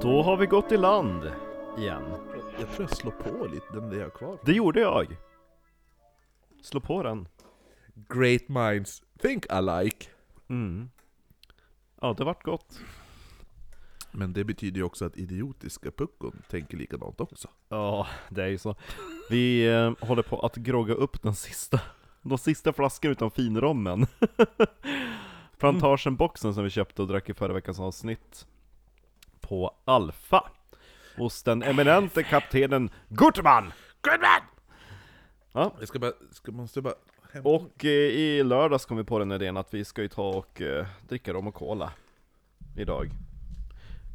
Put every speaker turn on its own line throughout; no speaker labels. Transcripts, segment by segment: Då har vi gått i land igen.
Jag tror jag slår på lite den vi har kvar.
Det gjorde jag. Slå på den.
Great minds think alike.
Mm. Ja, det vart gott.
Men det betyder ju också att idiotiska puckon tänker likadant också.
Ja, det är ju så. Vi eh, håller på att grogga upp den sista, de sista flaskorna utan finrommen. Plantagen-boxen som vi köpte och drack i förra veckans avsnitt på Alfa. Hos den eminente kaptenen Gutman!
Goodman!
Ja.
Jag ska bara, ska, måste bara... hämta-
Och eh, i lördags kom vi på den idén att vi ska ju ta och eh, dricka rom och cola idag.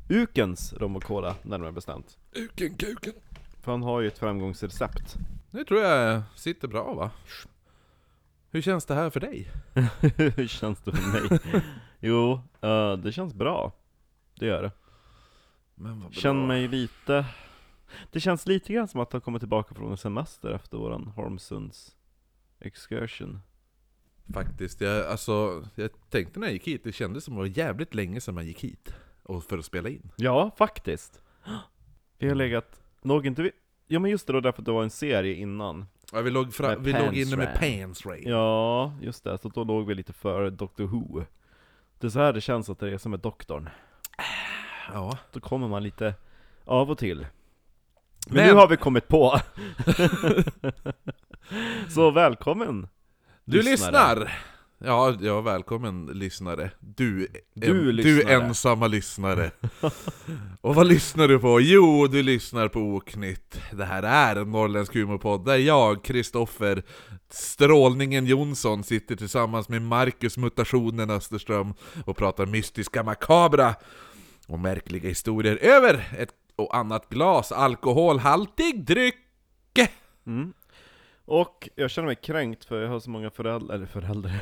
Ukens rom och cola närmare bestämt.
Uken, kuken.
För han har ju ett framgångsrecept.
Nu tror jag sitter bra va? Hur känns det här för dig?
Hur känns det för mig? jo, eh, det känns bra. Det gör det.
Men vad bra.
Känn mig lite... Det känns lite grann som att ha kommit tillbaka från en semester efter våran Holmsunds excursion.
Faktiskt, jag, alltså, jag tänkte när jag gick hit, det kändes som det var jävligt länge sedan man gick hit. Och för att spela in.
Ja, faktiskt. Vi har legat... Låg inte vi... Ja men just det då, därför att det var en serie innan.
Ja, vi låg, fra,
Med
vi låg
pants
inne med
rain.
pants rain.
Ja, just det. Så då låg vi lite före Doctor Who. Det är så här det känns att det är som med doktorn.
Ja.
Då kommer man lite av och till. Men,
Men-
nu har vi kommit på! så välkommen!
Du
lyssnare.
lyssnar! Ja, ja, välkommen lyssnare. Du,
Du
en, du
lyssnare.
ensamma lyssnare. och vad lyssnar du på? Jo, du lyssnar på Oknytt. Det här är en norrländsk humorpodd där jag, Kristoffer Strålningen Jonsson, sitter tillsammans med Marcus Mutationen Österström och pratar mystiska makabra och märkliga historier över ett och annat glas alkoholhaltig dryck.
Mm. Och jag känner mig kränkt för jag har så många föräldrar, eller föräldrar,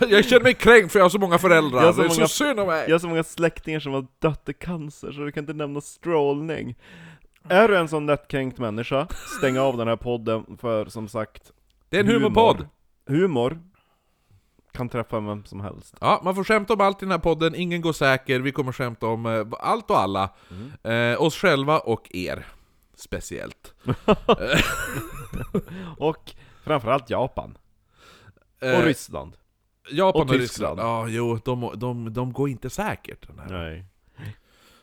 Jag känner mig kränkt för jag har så många föräldrar,
Jag har så
det är
många-
så synd om mig!
jag har så många släktingar som har dött i cancer så du kan inte nämna strålning. Är du en sån lättkränkt människa, stäng av den här podden för som sagt,
Det är en humorpodd!
Humor kan träffa vem som helst.
Ja, man får skämta om allt i den här podden, ingen går säker, vi kommer skämta om eh, allt och alla.
Mm.
Eh, oss själva och er. Speciellt.
Och framförallt Japan.
Eh,
Och Ryssland.
Japan
och
och
Tyskland.
Ryssland. Ja, jo, de, de, de går inte säkert. Den här.
Nej.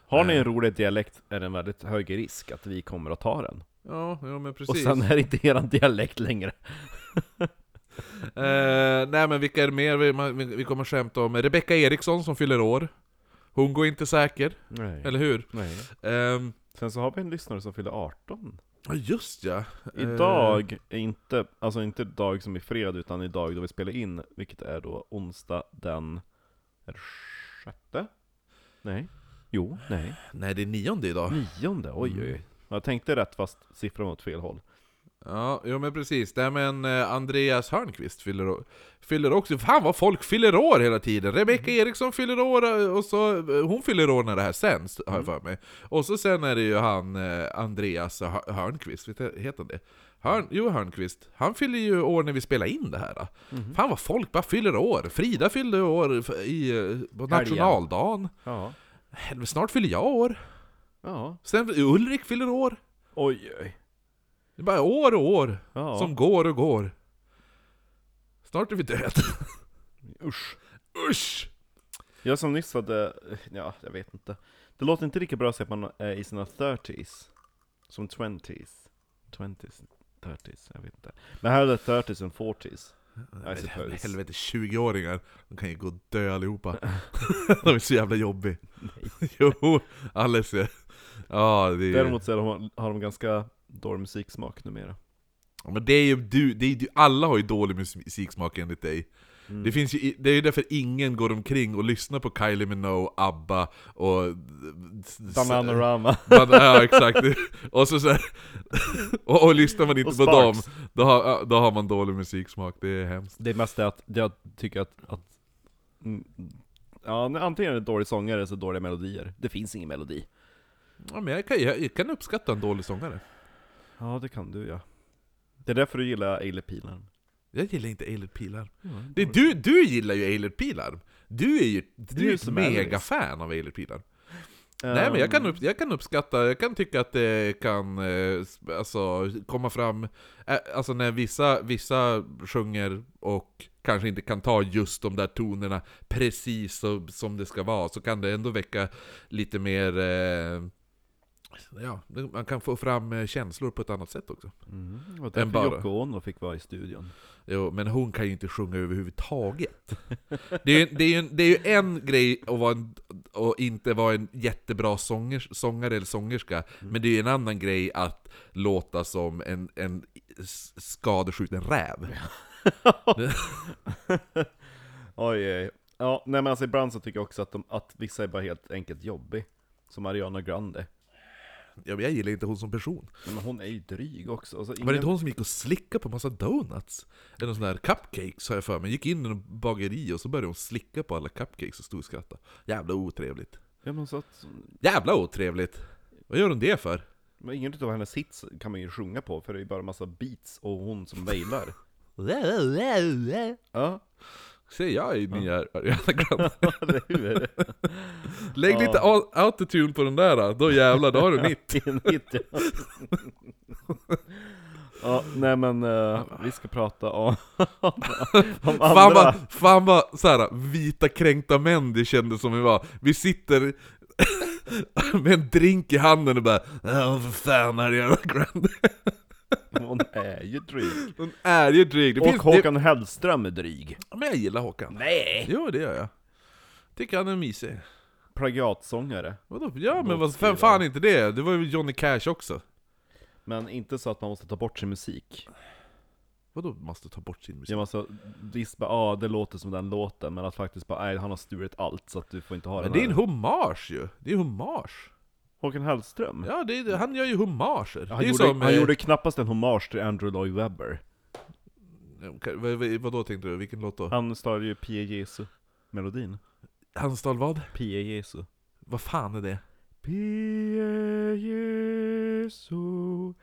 Har ni en rolig dialekt är det en väldigt hög risk att vi kommer att ta den.
Ja, ja, men
Och
precis.
sen är det inte eran dialekt längre.
Eh, nej, men vilka är det mer vi, man, vi- vi kommer skämta om? Rebecka Eriksson som fyller år. Hon går inte säker,
Nej.
eller hur? Ehm,
Sen så har vi en lyssnare som fyller 18.
Ja, just ja. Eh,
Idag, är inte, alltså inte dag som i fred utan idag då vi spelar in, vilket är då onsdag den... Är det sjätte? Nej. Ah. Jo, nej.
nej, det är nionde idag.
Nionde? Oj oj oj. Jag tänkte rätt fast siffran var åt fel håll.
Ja, jo men precis. Nej men eh, Andreas Hörnqvist fyller, å- fyller också... Fan vad folk fyller år hela tiden! Rebecka Eriksson fyller år, eh, och så... eh, Hon fyller år när det här sänds, har jag för mig. Och så sen är det ju han eh, Andreas Hör- Hörnqvist, vet jag- heter han det? Hörn, jo, Hörnqvist. Han fyller ju år när vi spelar in det här.
Mhm.
Fan vad folk bara fyller år! Frida fyllde år f- i, eh, på nationaldagen.
Ja.
Helvete, snart fyller jag år.
Ja.
Sen Ulrik fyller år.
Oj oj.
Det är bara år och år.
Ja.
Som går och går. Snart är vi död.
Usch.
Usch!
Jag som nyss hade, ja jag vet inte. Det låter inte lika bra att säga att man är i sina 30s. Som 20s. 20s, 30s, jag vet inte. Men här är det 30s and 40s. I suppose.
Helvete, 20-åringar. De kan ju gå och dö allihopa. De är så jävla jobbiga. Jo, alldeles. ja. Ja, det är,
Däremot så är de, har de ganska dålig musiksmak numera.
Ja, men det är ju du, det är, du, alla har ju dålig mus- musiksmak enligt dig. Det, finns ju, i- det är ju därför ingen går omkring och lyssnar på Kylie Minogue, ABBA och...
Bananarama.
Man, ja exakt, och så, så här, och, och lyssnar man inte
Och
på dem,
Sparks.
då har, då har man dålig musiksmak, det är hemskt.
Det mesta är att det jag tycker att, att mm, ja, antingen är det dålig sångare eller så dåliga melodier. Det finns ingen melodi.
Ja, men jag, kan, jag, jag kan uppskatta en dålig sångare.
Ja, det kan du ja. Det är därför du gillar Eilert Pilarm.
Jag gillar inte Eilert Pilarm. Det, är du, du gillar ju Eilert Pilarm! Du är ju
är
du är
ju
ett
som Elvis.
megafan av Eilert Pilarm. Nej men jag kan,
Ehm,
upp, jag kan uppskatta, jag kan tycka att det kan eh, sp- alltså, komma fram, eh, alltså när vissa, vissa sjunger och kanske inte kan ta just de där tonerna precis så, som det ska vara, så kan det ändå väcka lite mer, eh, ja, man kan få fram eh, känslor på ett annat sätt också.
Mm. Och
En
därför
bara.
Yoko Ono fick vara i studion.
Jo, men hon kan ju inte sjunga överhuvudtaget. Det är, ju- det är, ju, en- det är ju en grej att, vara en, att inte vara en jättebra sångers, sångare eller sångerska, men det är ju en annan grej att låta som en, en s- skadeskjuten räv.
Oj, oj. Ja, nej men alltså ibland så tycker jag också att, de, att vissa är bara helt enkelt jobbig. Som Ariana Grande.
Ja, men jag gillar inte hon som person.
Men hon är ju dryg också. Alltså,
Var det
ingen...
inte hon som gick och slickade på massa donuts? Eller någon sån där cupcakes har jag för mig. Gick in i en bageri och så började hon slicka på alla cupcakes och stod och skrattade. Jävla otrevligt.
Ja, men så att,
Jävla otrevligt! Vad gör hon det för?
men ingen utav hennes hits kan man ju sjunga på, för det är ju bara massa beats och hon som mejlar. Ja,
Se, jag är nya Ariana Grande.
eller hur?
Lägg lite au- autotune på den där, då jävlar, då har du mitt.
Det är en hit, ja. ja, nej men eh, vi ska prata om, om
Fan
andra.
vad, fan vad såhär, vita kränkta män det kändes som vi var. Vi sitter med en drink i handen och bara Åh för fan Ariana Grande.
Hon är ju dryg.
Hon är ju dryg. Det
Och
finns, det,
Håkan Hellström är dryg.
men jag gillar Håkan.
Nej!
Jo, det gör jag. Tycker han är mysig.
Plagiatsångare.
Vadå? Ja, men vad, vem fan inte det? Det var ju Johnny Cash också.
Men inte så att man måste ta bort sin musik.
Vadå måste ta bort sin musik?
Jag måste visst bara, ah, det låter som den låten, men att faktiskt bara, nej han har stulit allt så att du får inte ha
Men
den
det är en
här.
hommage ju. Det är hommage.
Håkan Hellström?
Ja, det är, han gör ju hommager.
Han,
det är
gjorde,
som,
han
eh,
gjorde knappast en hommage till Andrew Lloyd Webber.
Vad, vad, vadå tänkte du? Vilken låt då?
Han stal ju Pia Jesu melodin.
Han stal vad?
Pia Jesu.
Vad fan är det?
Pia Jesu,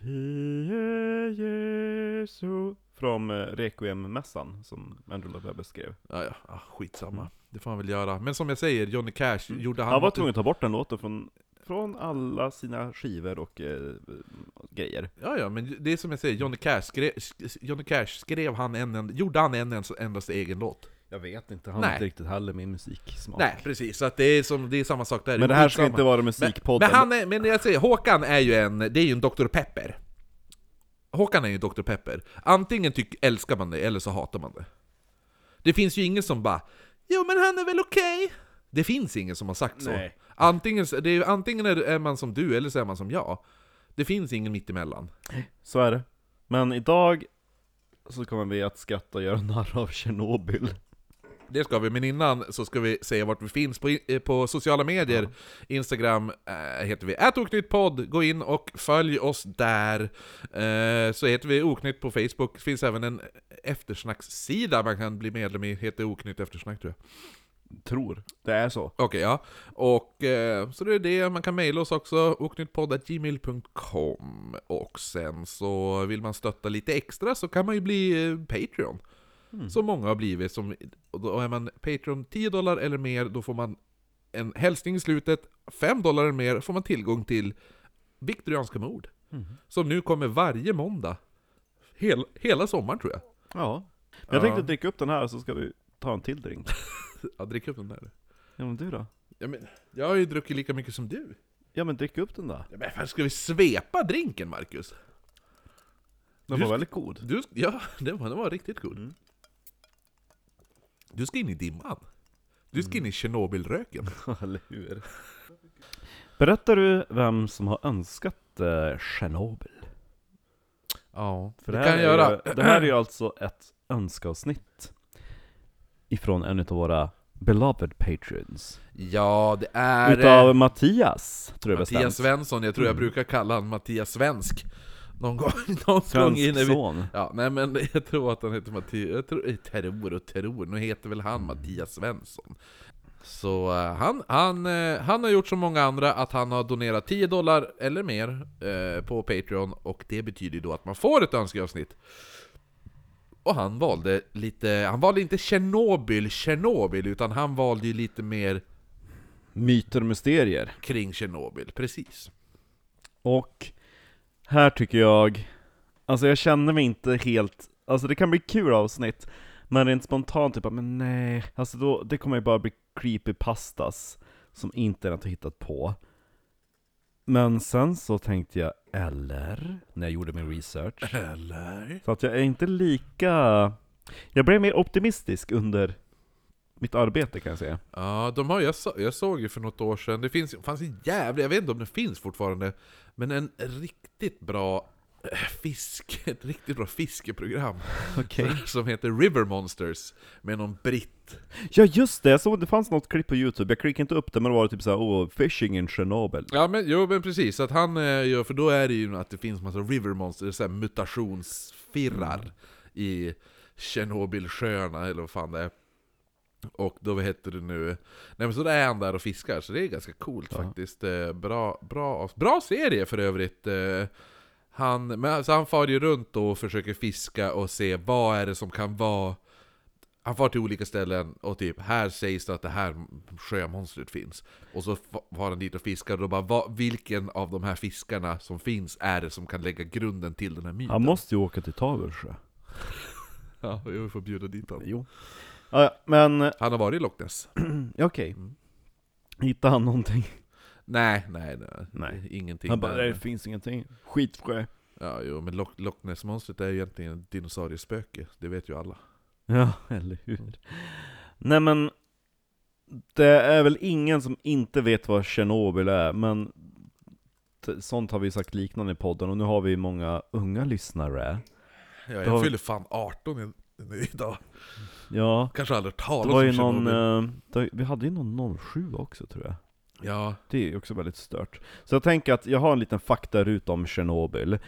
Pia Jesu. Från eh, Requiem-mässan som Andrew Lloyd Webber skrev.
Ja, ja, ah, skitsamma. Det får han väl göra. Men som jag säger, Johnny Cash gjorde han...
Han var tvungen att ta bort den låten från, från alla sina skivor och eh, grejer.
Ja, ja, men det är som jag säger, Johnny Cash skrev, sk- Johnny Cash skrev han en, en, gjorde han en, en endaste egen låt.
Jag vet inte, han
Nej.
har inte riktigt heller min musiksmak.
Nej, precis. Så att det, är som, det är samma sak där.
Men det här ska
Skitsamma.
inte vara
Men,
musikpodden.
men, han är, men jag säger, Håkan är ju en, det är ju en Dr. Pepper. Håkan är ju en Dr. Pepper. Antingen tyck, älskar man det, eller så hatar man det. Det finns ju ingen som bara ”Jo men han är väl okej?” Det finns ingen som har sagt
Nej.
så. Antingen, så- det är, antingen är, är man som du, eller så är man som jag. Det finns ingen mittemellan.
Så är det. Men idag så kommer vi att skratta och göra narr av Tjernobyl.
Det ska vi, men innan så ska vi säga vart vi finns på, eh, på sociala medier. Instagram eh, heter vi @oknyttpodd. Gå in och följ oss där. Eh, så heter vi Oknytt på Facebook. Det finns även en eftersnackssida man kan bli medlem i. Heter Oknytt Eftersnack tror jag.
Tror. Det är så.
Okej, ja. Och eh, så det är det. Man kan mejla oss också. Oknyttpodd.gmail.com Och sen så vill man stötta lite extra så kan man ju bli eh, Patreon.
Mm.
Som många har blivit. Som, och då är man Patreon 10 dollar eller mer, då får man en hälsning i slutet. 5 dollar eller mer får man tillgång till Viktorianska mord.
Mm.
Som nu kommer varje måndag. Hel, hela sommaren tror jag.
Ja. Men jag tänkte dricka upp den här så ska vi ta en till drink.
Ja, drick upp den där.
Ja men du då?
Ja, men, jag har ju druckit lika mycket som du.
Ja men drick upp den där.
Ja, Men fan, ska vi svepa drinken, Marcus?
Den
Du-
var väldigt god.
Du, ja, den var, den var riktigt god. Du ska in i dimman. Du ska in i Tjernobylröken.
Eller hur? Berättar du vem som har önskat eh, Tjernobyl?
Ja,
För
det,
här
kan
är
jag göra.
Ju, det här är ju alltså ett önskavsnitt ifrån en av våra beloved patrons.
Ja, det är...
Utav
eh,
Mattias, tror jag
Mattias
bestämt.
Svensson. Jag tror
Mm.
jag brukar kalla han Mattias Svensk. Någon gång, någon gång
Svensk
innan vi...
son.
Ja, nej men jag tror att han heter Mattias... Jag tror, jag tror och tror, nu heter väl
Mm.
han Mattias Svensson. Så eh, han, han, eh, han har gjort som många andra att han har donerat 10 dollar eller mer eh, på Patreon och det betyder ju då att man får ett önskeavsnitt. Och han valde lite, han valde inte Tjernobyl, Tjernobyl, utan han valde ju lite mer
myter och mysterier.
kring Tjernobyl, precis.
Och här tycker jag, alltså jag känner mig inte helt, alltså det kan bli kul avsnitt, men rent spontant typ, men nej, alltså då, det kommer ju bara bli creepypastas som inte är något jag hittat på. Men sen så tänkte jag, eller? När jag gjorde min research.
Eller?
Så att jag är inte lika... Jag blev mer optimistisk under mitt arbete kan jag säga.
Ja, de har, jag, så, jag såg ju för något år sedan, det finns, fanns en jävlig, jag vet inte om den finns fortfarande, men en riktigt bra eh, fisk, ett riktigt bra fiskeprogram
Okej.
som heter River Monsters med någon britt.
Ja just det, jag såg det fanns något klipp på youtube, jag klickade inte upp det men det var typ såhär oh, 'Fishing in Chernobyl'
Ja men, jo, men precis, att han eh, gör, för då är det ju att det finns massa River Monsters, så här mutationsfirrar i Tjernobylsjöarna eller vad fan det är. Och då, vad heter det nu? Nej men så där är han där och fiskar, så det är ganska coolt
Ja.
faktiskt. Eh, Bra, bra, bra serie för övrigt. Eh, Han, men alltså han far ju runt då och försöker fiska och se vad är det som kan vara... Han far till olika ställen och typ här sägs det att det här sjömonstret finns. Och så fa- far han dit och fiskar och då bara vad, vilken av de här fiskarna som finns är det som kan lägga grunden till den här myten?
Han måste ju åka till Tavelsjö.
Ja, vi får bjuda dit honom.
Jo. Ja, ja, men eh,
Han har varit i Loch Ness. Mm.
okej. Hittade han någonting?
Nej, nej, nej.
Nej.
Ingenting.
Han bara
där.
'Det finns ingenting, skitsjö'
Ja, jo, men Loch, Loch Ness-monstret är ju egentligen ett dinosauriespöke. Det vet ju alla.
Ja, eller hur? Mm. Nej men, det är väl ingen som inte vet vad Tjernobyl är, men t- sånt har vi sagt liknande i podden, och nu har vi många unga lyssnare.
Ja, jag
Då-
fyller fan 18 i- i- idag.
Ja,
Kanske aldrig
det
talat
var
om
ju någon,
Tjernobyl.
eh, det- vi hade ju någon 07 också tror jag.
Ja,
Det är ju också väldigt stört. Så jag tänker att jag har en liten faktaruta om Tjernobyl.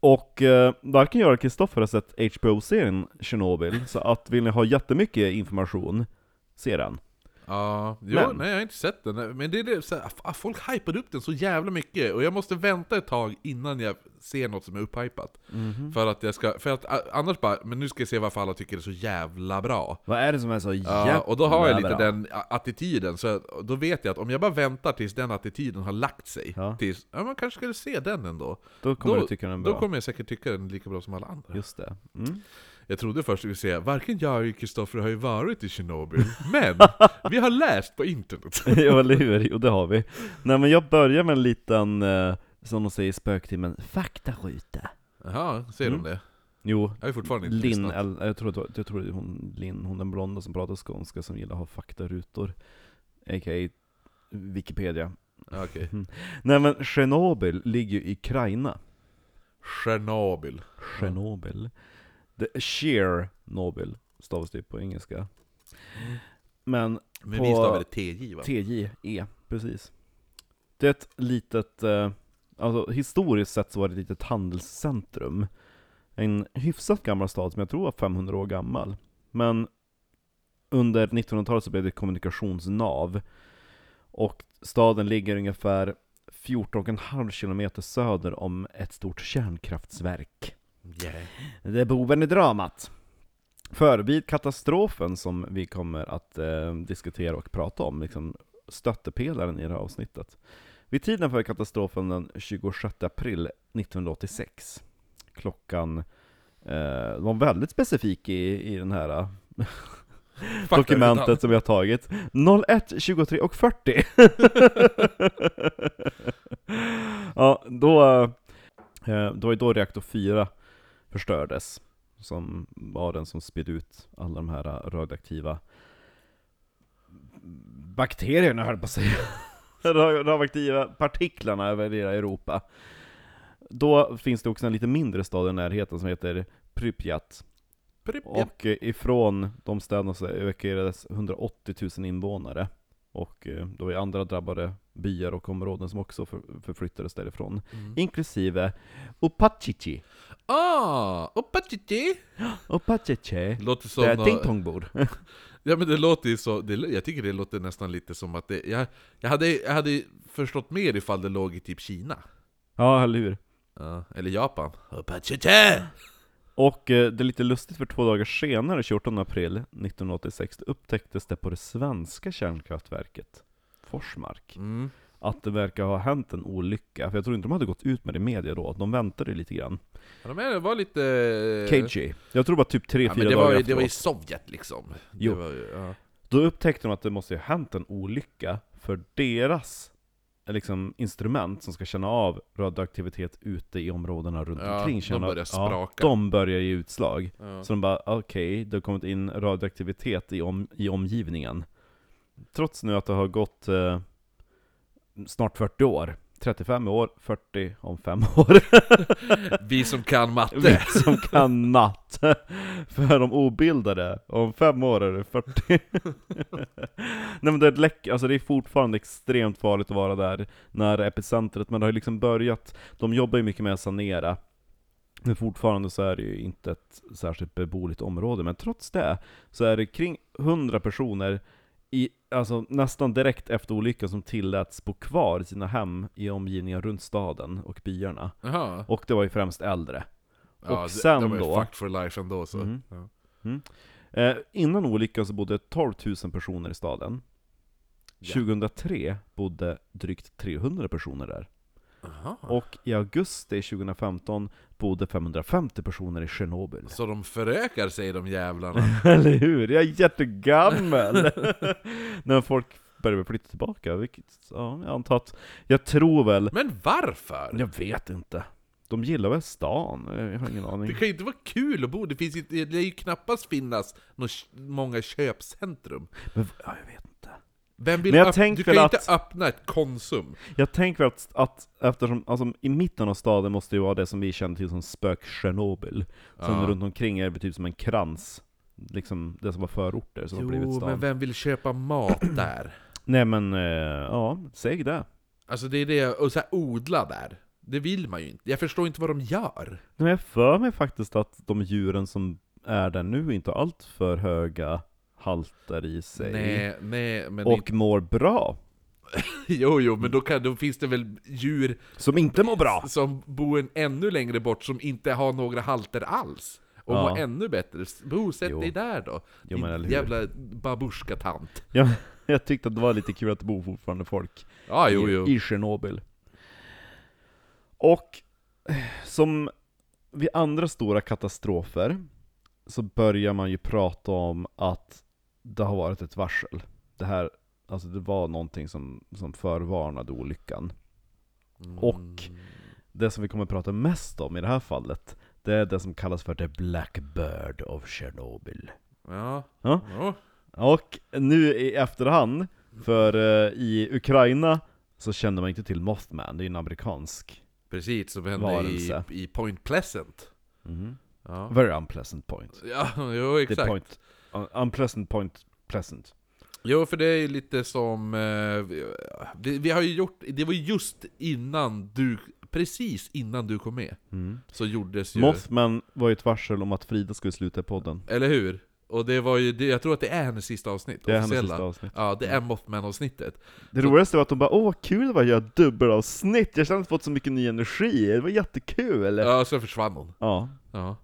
Och eh, varken jag eller Kristoffer har sett HBO-serien Tjernobyl, så att vill ni ha jättemycket information, se den.
ja jo,
Men-
nej jag har inte sett den. Men det är det, så här, f- ah, folk hypade upp den så jävla mycket. Och jag måste vänta ett tag innan jag ser något som är upphypat.
Mm.
För att jag ska, för att a- annars bara, men nu ska jag se varför alla tycker det är så jävla bra.
Vad är det som är så
Ja, och då har jag lite den a- attityden, så att- då vet jag att om jag bara väntar tills den attityden har lagt sig,
Ja.
tills, ja man kanske skulle se den ändå.
Då kommer
Då-
du tycka den är bra.
Då kommer jag säkert tycka den är lika bra som alla andra.
Just det. Mm.
Jag trodde först att vi skulle säga, varken jag eller Kristoffer har ju varit i Tjernobyl, men vi har läst på internet.
ja, eller hur? Jo, det har vi. Nej, men jag börjar med en liten, eh, som de säger i spöktimmen, faktaruta.
Jaha, ser
Mm.
de det?
Jo,
Jag har fortfarande inte
Linn,
lyssnat.
eller- jag tror, att det var- jag tror det är hon, Linn, hon den blonda som pratar skånska som gillar att ha faktarutor. A.k.a. Wikipedia.
Ja, Okej.
Nej men Tjernobyl ligger ju i Ukraina.
Tjernobyl.
Tjernobyl. The Chernobyl stavas det på engelska. Men
Men
På-
vi stavade TJ va?
TJE, E, precis. Det är ett litet, eh, alltså historiskt sett så var det ett litet handelscentrum. En hyfsat gammal stad som jag tror var 500 år gammal. Men under 1900-talet så blev det ett kommunikationsnav. Och staden ligger ungefär 14,5 kilometer söder om ett stort kärnkraftsverk.
Yeah.
Det är boven i dramat. För vid katastrofen som vi kommer att eh, diskutera och prata om, liksom stöttepelaren i det här avsnittet. Vid tiden för katastrofen den 26 april 1986, klockan, eh, de var väldigt specifik i, i den här eh,
Fuck,
dokumentet som vi har tagit. 01, 23 och 40. ja, då, eh, då var då reaktor 4 förstördes, som var den som spydde ut alla de här eh, radioaktiva bakterierna, höll jag på att säga. Ra- radioaktiva partiklarna över hela Europa. Då finns det också en lite mindre stad i närheten som heter Pripyat.
Pripp, ja.
Och eh, ifrån de städerna så evakuerades 180 000 invånare. Och eh, då var andra drabbade byar och områden som också för, förflyttades därifrån.
Mm.
Inklusive Opachichi.
Ah! Oppa tji
Opachichi.
Låter som eh,
Där
nå-
Ding Dong bor.
Ja men det låter ju så, det, jag tycker det låter nästan lite som att det, jag, jag, hade, jag hade förstått mer ifall det låg i typ Kina.
ja, eller hur?
Ja, eller Japan. Opachiche!
Och eh, det är lite lustigt för två dagar senare, 14 april 1986, då upptäcktes det på det svenska kärnkraftverket. Forsmark.
Mm.
Att det verkar ha hänt en olycka, för jag tror inte de hade gått ut med det i media då, de väntade ju lite grann.
Ja, de är- var lite... eh,
KG. Jag tror bara typ 3-4
Ja, men det,
dagar
var, ju- det
efteråt.
var i Sovjet liksom.
Jo.
Det var, ju- ja.
Då upptäckte de att det måste ju ha hänt en olycka för deras eh, liksom, instrument som ska känna av radioaktivitet ute i områdena runt
Ja,
omkring.
de
Känna,
börjar spraka.
Ja, de börjar ge utslag.
Ja.
Så de bara, okej, det har kommit in radioaktivitet i, om, i omgivningen. Trots nu att det har gått eh, snart 40 år. 35 år, 40 om 5 år.
Vi som kan
Vi
matte.
som kan natt. För de obildade, om fem år är det 40. Nej men det är, ett läck, alltså det är fortfarande extremt farligt att vara där när epicentret, men det har ju liksom börjat, de jobbar ju mycket med att sanera. Men fortfarande så är det ju inte ett särskilt beboeligt område, men trots det så är det kring 100 personer i, alltså nästan direkt efter olyckan som tilläts bo kvar i sina hem i omgivningen runt staden och byarna.
Jaha.
Och det var ju främst äldre.
Ja,
och
de-
sen
de är
då-
fucked for life ändå så.
Mm.
Ja.
Eh, innan olyckan så bodde 12 000 personer i staden.
Ja.
2003 bodde drygt 300 personer där.
Aha.
Och i augusti 2015 bodde 550 personer i Tjernobyl.
Så de förökar sig de jävlarna.
Eller hur? Jag är jättegammal! När folk började flytta tillbaka, vilket, ja, jag antar att, jag tror väl,
Men varför?
jag vet inte. De gillar väl stan? Eh, Jag har ingen aning.
Det kan ju inte vara kul att bo, det finns ju, det lär ju knappast finnas nå- många köpcentrum.
Men, ja, jag vet inte.
Vem vill
Men jag
öpp-
tänker
du kan ju
att-
inte öppna ett Konsum.
Jag tänker att, att eftersom, alltså i mitten av staden måste det ju vara det som vi känner till som spök-Tjernobyl. Sen
Ja.
runt omkring är det typ som en krans. Liksom det som var förorter som har blivit
Jo,
stan.
men vem vill köpa mat där?
Nej men, eh, ja, säg det.
Alltså det är det, och så här, odla där. Det vill man ju inte. Jag förstår inte vad de gör.
Men jag för mig faktiskt att de djuren som är där nu inte har allt för höga halter i sig.
Nej, nej, men...
och mår bra.
Det, jo, jo, men då, kan, då finns det väl djur
Som inte mår bra!
som bor en ännu längre bort som inte har några halter alls. Och
Ja.
mår ännu bättre. Bosätt
Jo.
dig där då.
Jo, men
Din
eller hur.
jävla babusjkatant.
Jag, jag tyckte att det var lite kul att det bor fortfarande folk.
Ja, Ah, jo,
i-
jo.
i Tjernobyl. Och som vid andra stora katastrofer så börjar man ju prata om att det har varit ett varsel. Det här, alltså det var någonting som, som förvarnade olyckan.
Mm.
Och det som vi kommer att prata mest om i det här fallet, det är det som kallas för The Black Bird of Chernobyl.
Ja.
Ja.
Ja.
Och nu i efterhand, för eh, i Ukraina så kände man inte till Mothman, det är ju en amerikansk
Precis, som hände i,
Varelse.
i Point Pleasant. Mm.
Mhm.
Ja,
Very unpleasant point.
ja jo
The
exakt.
point. Un- unpleasant point pleasant.
Jo, för det är ju lite som... eh, vi- Vi, vi har ju gjort... Det var ju just innan du... Precis innan du kom med. Så gjordes ju...
Mothman var ju ett varsel om att Frida skulle sluta i podden.
Eller hur? Och det var ju... Det, jag tror att det är hennes sista avsnitt.
Det är hennes
officiella.
sista avsnitt.
Ja, det är Mothman-avsnittet.
Det
Så-
roligaste var att de bara 'Åh vad kul det var att göra dubbelavsnitt, jag kände att jag fått så mycket ny energi, det var jättekul' Ja,
Ja, så försvann hon.
ja.
Ja.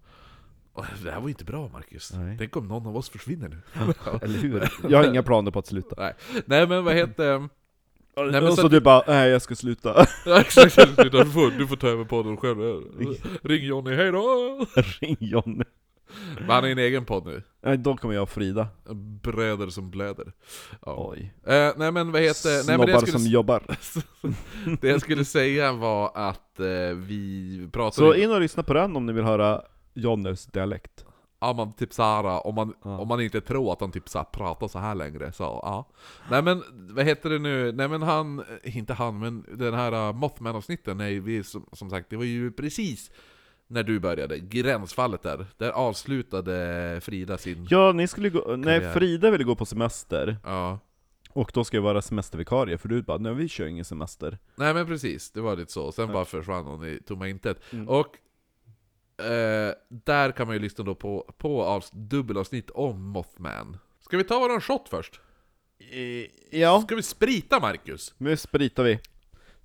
Och det här var ju inte bra, Marcus.
Nej.
Tänk om någon av oss försvinner nu.
eller hur? Jag har inga planer på att sluta.
Nej. Nej, men vad heter... men
och så,
så-
du bara 'Nej jag ska sluta'
Ja, exakt. Du får, du får ta över podden själv. Ring Johnny, hejdå!
Ring Johnny.
Men han är en egen podd nu.
Nej då kommer jag och Frida.
Bröder som blöder. Ja.
Oj.
Eh, nej men vad heter... Nej,
Snobbar
men det, jag
som
skulle,
jobbar.
det jag skulle säga var att eh, vi
Så
pratade...
in och lyssna på den om ni vill höra Jonnys dialekt.
ja, man typ såhär, om man,
Ja.
om man inte tror att han typ såhär, pratar så här längre. Så, ja. Nej men vad heter det nu? Nej men han, eh, inte han, men den här eh, Mothman-avsnitten, nej vi, som, som sagt, det var ju precis när du började, gränsfallet där. Där avslutade Frida sin...
Ja, ni skulle gå, nej
Karriär.
Frida ville gå på semester,
Ja.
och då ska jag vara semestervikarie, för du bara 'Nej vi kör ingen semester'
Nej men precis, det var lite så. Sen bara försvann hon i tomma intet. Och eh, där kan man ju lyssna då på, på avs- dubbelavsnitt om Mothman. Ska vi ta våran shot först?
Ja.
Ska vi sprita Marcus?
Nu spritar vi.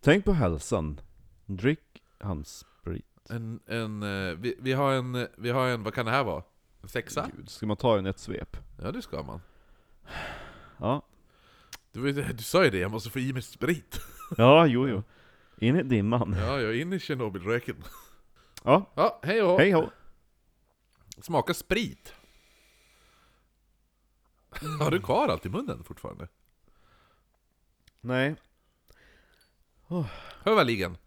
Tänk på hälsan. Drick handsprit.
En, en, eh, vi, vi, har en, vi har en, vad kan det här vara? En sexa?
Gud, ska man ta en i ett svep?
Ja det ska man.
Ja.
Du, vet- du sa ju det, jag måste få i mig sprit.
Ja, jo, jo. In i dimman.
Ja, jag är inne i Tjernobylröken.
Ja,
Ja, hej och
hej ho.
Smaka sprit. Har du kvar allt i munnen fortfarande?
Nej,
Hövaligen.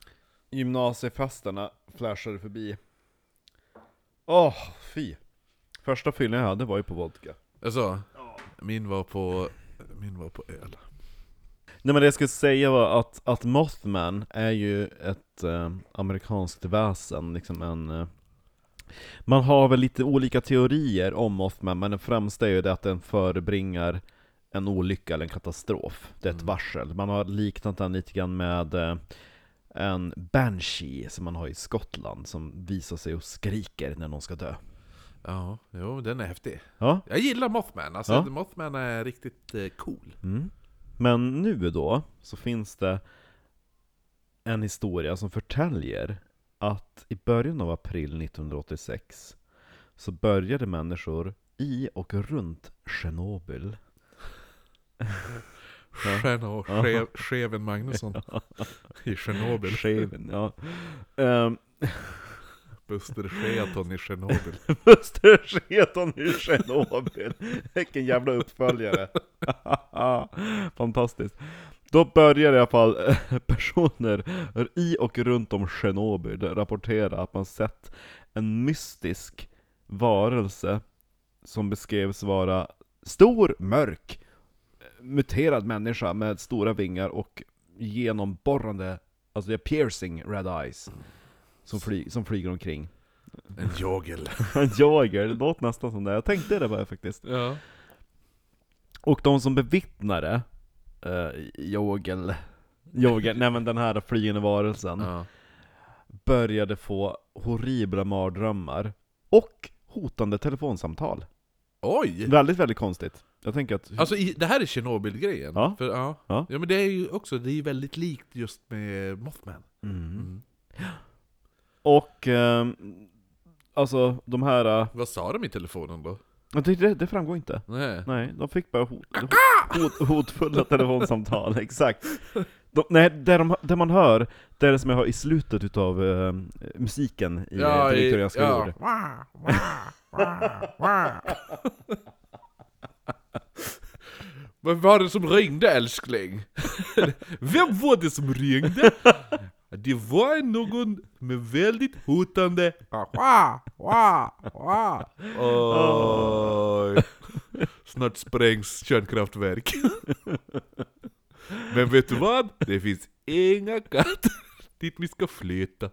gymnasiefesterna flashade förbi. Åh, fy. Första fyllan jag hade var ju på vodka.
Alltså, min var på... Min var på öl.
Nej men det jag skulle säga var att, att Mothman är ju ett eh, amerikanskt väsen, liksom en... Eh, man har väl lite olika teorier om Mothman, men den främsta är ju det att den förebringar en olycka eller en katastrof. Det är ett
Mm.
varsel. Man har liknat den lite grann med eh, en banshee som man har i Skottland, som visar sig och skriker när någon ska dö.
Ja, jo, men den är häftig.
Ja.
Jag gillar Mothman, alltså
Ja.
Mothman är riktigt eh, cool.
Mm. Men nu då, så finns det en historia som förtäljer att i början av april 1986 så började människor i och runt Tjernobyl Ja.
Stjärna och
Ja.
Schev- Scheven Magnusson i Tjernobyl.
Scheven, ja. Ehm,
Buster Scheaton i Tjernobyl.
Buster Sketon i Tjernobyl. Vilken jävla uppföljare. Fantastiskt. Då börjar i alla fall eh, personer i och runt om Tjernobyl rapportera att man sett en mystisk varelse som beskrevs vara stor, mörk, muterad människa med stora vingar och genomborrande, alltså det är piercing red eyes, som, fly, som flyger omkring.
En jagel.
En jager, det låter nästan som det. Jag tänkte det bara faktiskt.
Ja.
Och de som bevittnade uh, Jogel, Jogel, nej men den här flygande varelsen,
ja.
började få horribla mardrömmar och hotande telefonsamtal.
Oj!
Väldigt, väldigt konstigt. Jag tänker att...
Alltså i, det här är Tjernobyl-grejen.
Ja.
För, ja.
Ja.
Ja. men det är ju också, det är ju väldigt likt just med Mothman.
Mm. Och, ehm, alltså de här... eh,
Vad sa de i telefonen då?
jag tyckte det, det framgår inte.
Nej.
Nej, de fick bara hot, hot, hotfulla telefonsamtal, exakt. De, nej, det, de, det man hör, det är det som jag hör i slutet utav eh, musiken i ja, Viktorianska ja. ord.
Wah, wah, wah, wah. Vad var det som ringde älskling? Vem var det som ringde? Det var någon med väldigt hotande... Ah, Wah, wah, wah. Oj. Snart sprängs kärnkraftverk. Men vet du vad? Det finns inga katter dit vi ska flytta.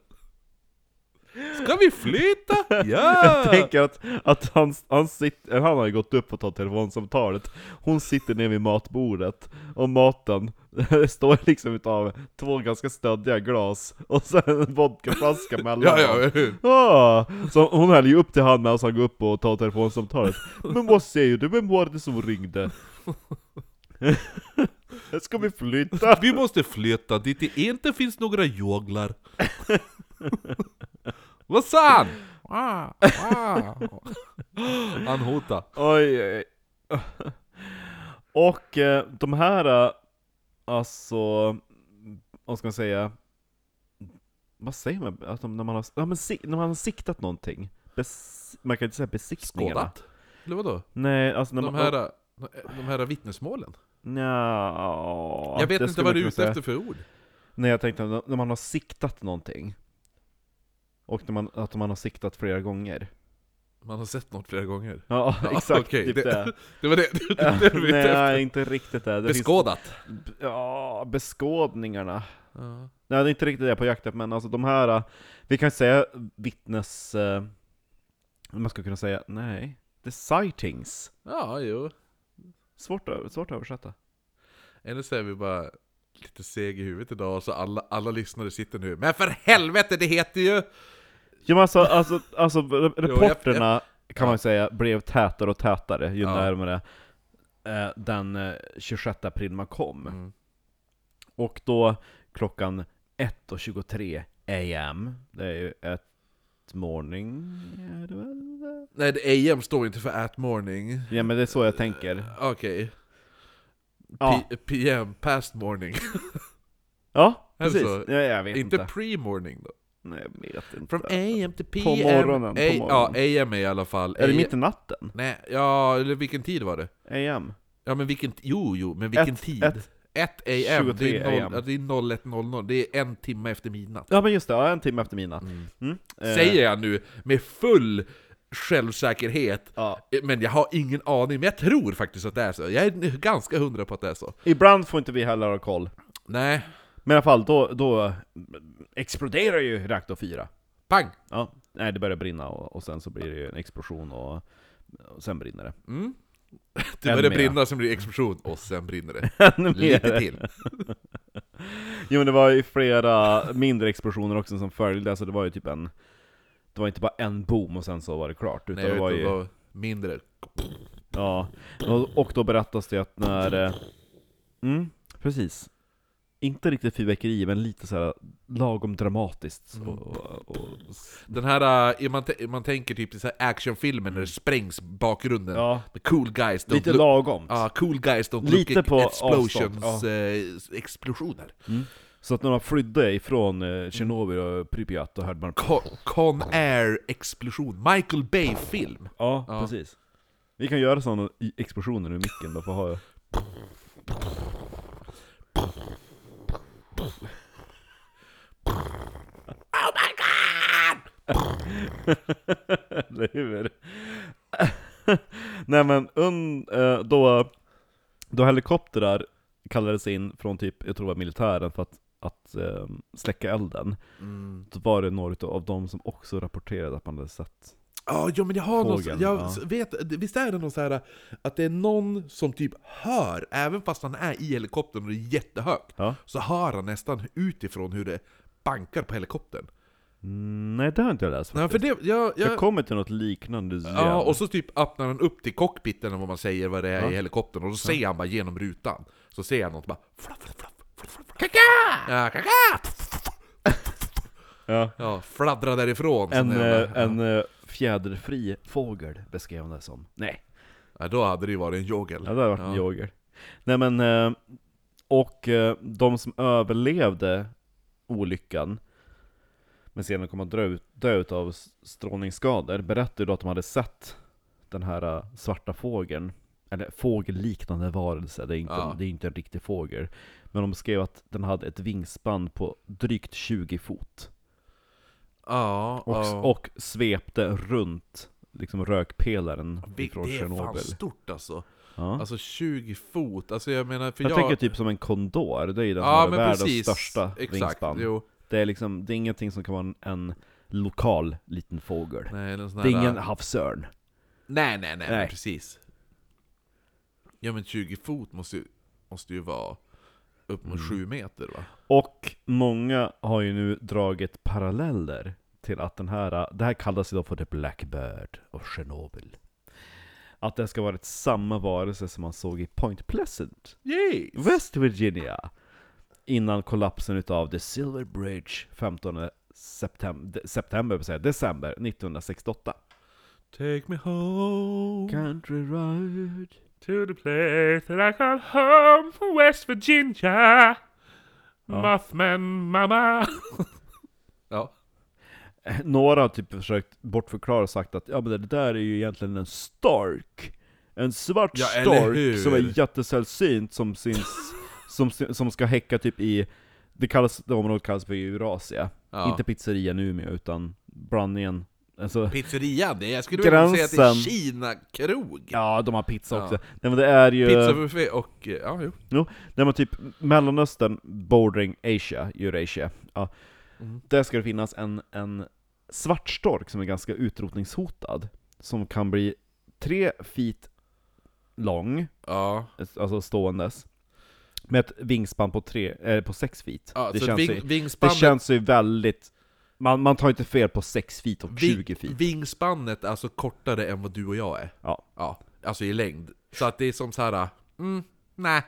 Ska vi flytta? Ja!
Tänk att, att han, han, sitter, han har ju gått upp och tagit telefonsamtalet, hon sitter nere vid matbordet, och maten står liksom utav två ganska stöddiga glas, och sen en vodkaflaska mellan
Ja,
dem.
ja, ja.
Ah, så hon häller ju upp till han medan han går upp och tar telefonsamtalet. Men vad säger du, vem var det som ringde? Ska vi flytta?
Vi måste flytta dit det inte finns några joglar. Vad sa han? Ah, ah. Han hotade.
Oj, oj, oj. Och eh, de här, eh, alltså, vad ska man säga? Vad säger man? Att de, när, man har, ja, men, sik- när man har siktat någonting? Bes, man kan inte säga besiktningarna.
Skådat? Eller vadå?
Nej, alltså när
De
man...
här, eh, de här vittnesmålen?
Nja,
Jag vet
det
inte
skulle man
vad du är
kunna
ute
säga.
efter för ord.
Nej jag tänkte att när man har siktat någonting Och när man, att man har siktat flera gånger
Man har sett något flera gånger.
Ja
Ja,
exakt,
okej,
typ
det-
det,
Det var det, det, var det du var ute efter.
Nej inte riktigt det, det
Beskådat.
finns, b- Ja, beskådningarna
Ja.
Nej det är inte riktigt det jag är på jakt efter, men alltså de här eh, Vi kan säga vittnes... eh, Man skulle kunna säga, nej The sightings
ja, jo.
Svårt, att- svårt att översätta
Eller så är vi bara lite seg i huvudet idag, så alla, alla lyssnare sitter nu Men för helvete, det heter ju...
Ja men alltså, alltså, alltså re-
jag-
reporterna kan
ja.
man ju säga blev tätare och tätare ju
Ja.
närmare eh, den eh, 26 april man kom.
Mm.
Och då klockan 1.23 AM, det är ju ett morning, är det väl?
Nej, det- AM står inte för at morning. Eh,
Ja men det är så jag tänker.
Okej.
Ja,
P- PM, past morning.
ja
Är det
precis.
så?
Ja, jag vet inte.
inte pre-morning då.
Nej, jag vet inte.
From AM to PM.
morgonen, på
A-
morgonen.
Ja, AM i alla fall.
Är det
A-
mitt i natten?
Nej, ja, eller vilken tid var det?
AM?
Ja men vilken, jo jo, men vilken
Ett-
tid?
ett.
1 AM, det
23
är,
AM.
noll, ja, det är 01.00, det är en timme efter midnatt.
Ja men just det, ja, en timme efter midnatt. Mm. Eh,
Säger jag nu med full självsäkerhet,
Ja.
Eh, men jag har ingen aning, men jag tror faktiskt att det är så. Jag är ganska hundra på att det är så.
Ibland får inte vi heller ha koll.
Nej,
Men i alla fall, då, då exploderar ju reaktor 4.
pang!
Ja, nej det börjar brinna och, och sen så blir det ju en explosion och, och sen brinner det.
Mm. Det
Ännu
börjar
mer.
brinna, sen blir det explosion, och sen brinner det.
Ännu mer.
Lite till.
Jo men det var ju flera mindre explosioner också som följde, alltså det var ju typ en... Det var inte bara en boom och sen så var det klart, utan
Nej,
det var
utan
ju...
då mindre.
Ja, och, och då berättas det att när... eh, Mm, precis. Inte riktigt fyrverkeri, men lite så här lagom dramatiskt.
Mm.
Och, och, och,
Den här, eh, man, t- man tänker typ i så här actionfilmer när det sprängs bakgrunden.
Mm. ja,
The cool guys don't
lite
look-
lagomt.
Ja, cool guys don't
Lite
look
på
at explosions,
avstånd,
eh, explosioner.
Så att när man flydde ifrån
Mm.
eh, Tjernobyl och Pripyat, då hörde man...
Co- Con Air-explosion, Michael Bay-film.
Ja, precis. Vi kan göra sådana i- explosioner ur micken då, för att ha...
Oh my god!
Eller hur? Nej men, un, eh, då, då helikoptrar kallades in från typ, jag tror det var militären, för att, att eh, släcka elden.
Mm.
Då var det några utav- av dem som också rapporterade att man hade sett.
Ja, ja, men jag har någon,
Fågeln,
jag
ja.
s- vet, visst är det någon så här att det är någon som typ hör, även fast han är i helikoptern och det är jättehögt,
Ja.
så hör han nästan utifrån hur det bankar på helikoptern.
Mm, Nej, det har inte jag läst
Nej,
faktiskt.
för det, jag,
Jag
jag,
kommer till något liknande
Ja,
igen.
och så typ öppnar han upp till cockpiten, eller vad man säger, vad det är
Ja.
i helikoptern, och då ser han bara genom rutan. Så ser han något bara... flapp, flapp, flapp, flapp, flapp, flapp. Ja, kaka!
Ja.
Ja, fladdra därifrån.
En,
Sån jävla-
eh, en eh, fjäderfri fågel beskrev han det som. Nej.
Ja, då hade det ju varit en jogel.
Ja, det hade varit en yoghurt. Nej men, eh, och eh, de som överlevde olyckan, men senare kom att dö, ut- dö ut av s- strålningsskador, berättade då att de hade sett den här eh, svarta fågeln, eller fågelliknande varelse, det är, inte,
Ja.
det är inte en riktig fågel. Men de skrev att den hade ett vingspann på drygt 20 fot.
Ja,
Och,
ja.
och svepte runt liksom rökpelaren
Vi-
ifrån
det är fan
Tjernobyl.
stort alltså.
Ja.
Alltså 20 fot, alltså jag menar för
Jag,
jag...
tänker typ som en kondor, det är ju den
ja,
som har
men
världens
precis.
största
Exakt,
vingspann.
jo.
Det är liksom, det är ingenting som kan vara en, en lokal liten fågel.
Nej, någon sån
det är
här-
ingen havsörn.
Nej, nej, nej,
Nej.
Men precis. Ja men 20 fot måste ju, måste ju vara upp
Mm.
mot 7 meter va?
Och många har ju nu dragit paralleller till att den här, det här kallas idag för The Blackbird of Chernobyl. Att det ska vara ett samma varelse som man såg i Point Pleasant,
Yay!
West Virginia. Innan kollapsen utav The Silver Bridge 15 september, september, vill säga, december 1968.
Take me home
Country road
to the place that I call home from West Virginia Mothman mamma Ja,
Några har typ försökt bortförklara och sagt att ja, men det där är ju egentligen en stark En svart
Ja, eller hur?
stark som är jättesällsynt som syns som, sy- som ska häcka typ i Det kallas, det området kallas för Eurasia
Ja.
Inte pizzerian Umeå utan blandningen Alltså,
pizzerian, det är, jag skulle vilja säga att det är
Gränsen.
Kina-krog
ja de har pizza
Ja.
också Nej men det är ju
Pizzabuffé och, eh, ja jo
Jo, nej men typ Mellanöstern, bordering Asia, Eurasia. Ja. Där ska det finnas en, en svart stork som är ganska utrotningshotad. Som kan bli tre feet lång,
Ja,
alltså ståendes. Med ett vingspann på, tre, eh, på sex feet.
ja
det,
så
känns
ving,
ju, det
vingspannet,
känns ju väldigt... Man, man tar inte fel på sex feet och 20
ving,
feet.
vingspannet är alltså kortare än vad du och jag är
Ja.
Ja, alltså i längd. Så att det är som så här. mm, nej.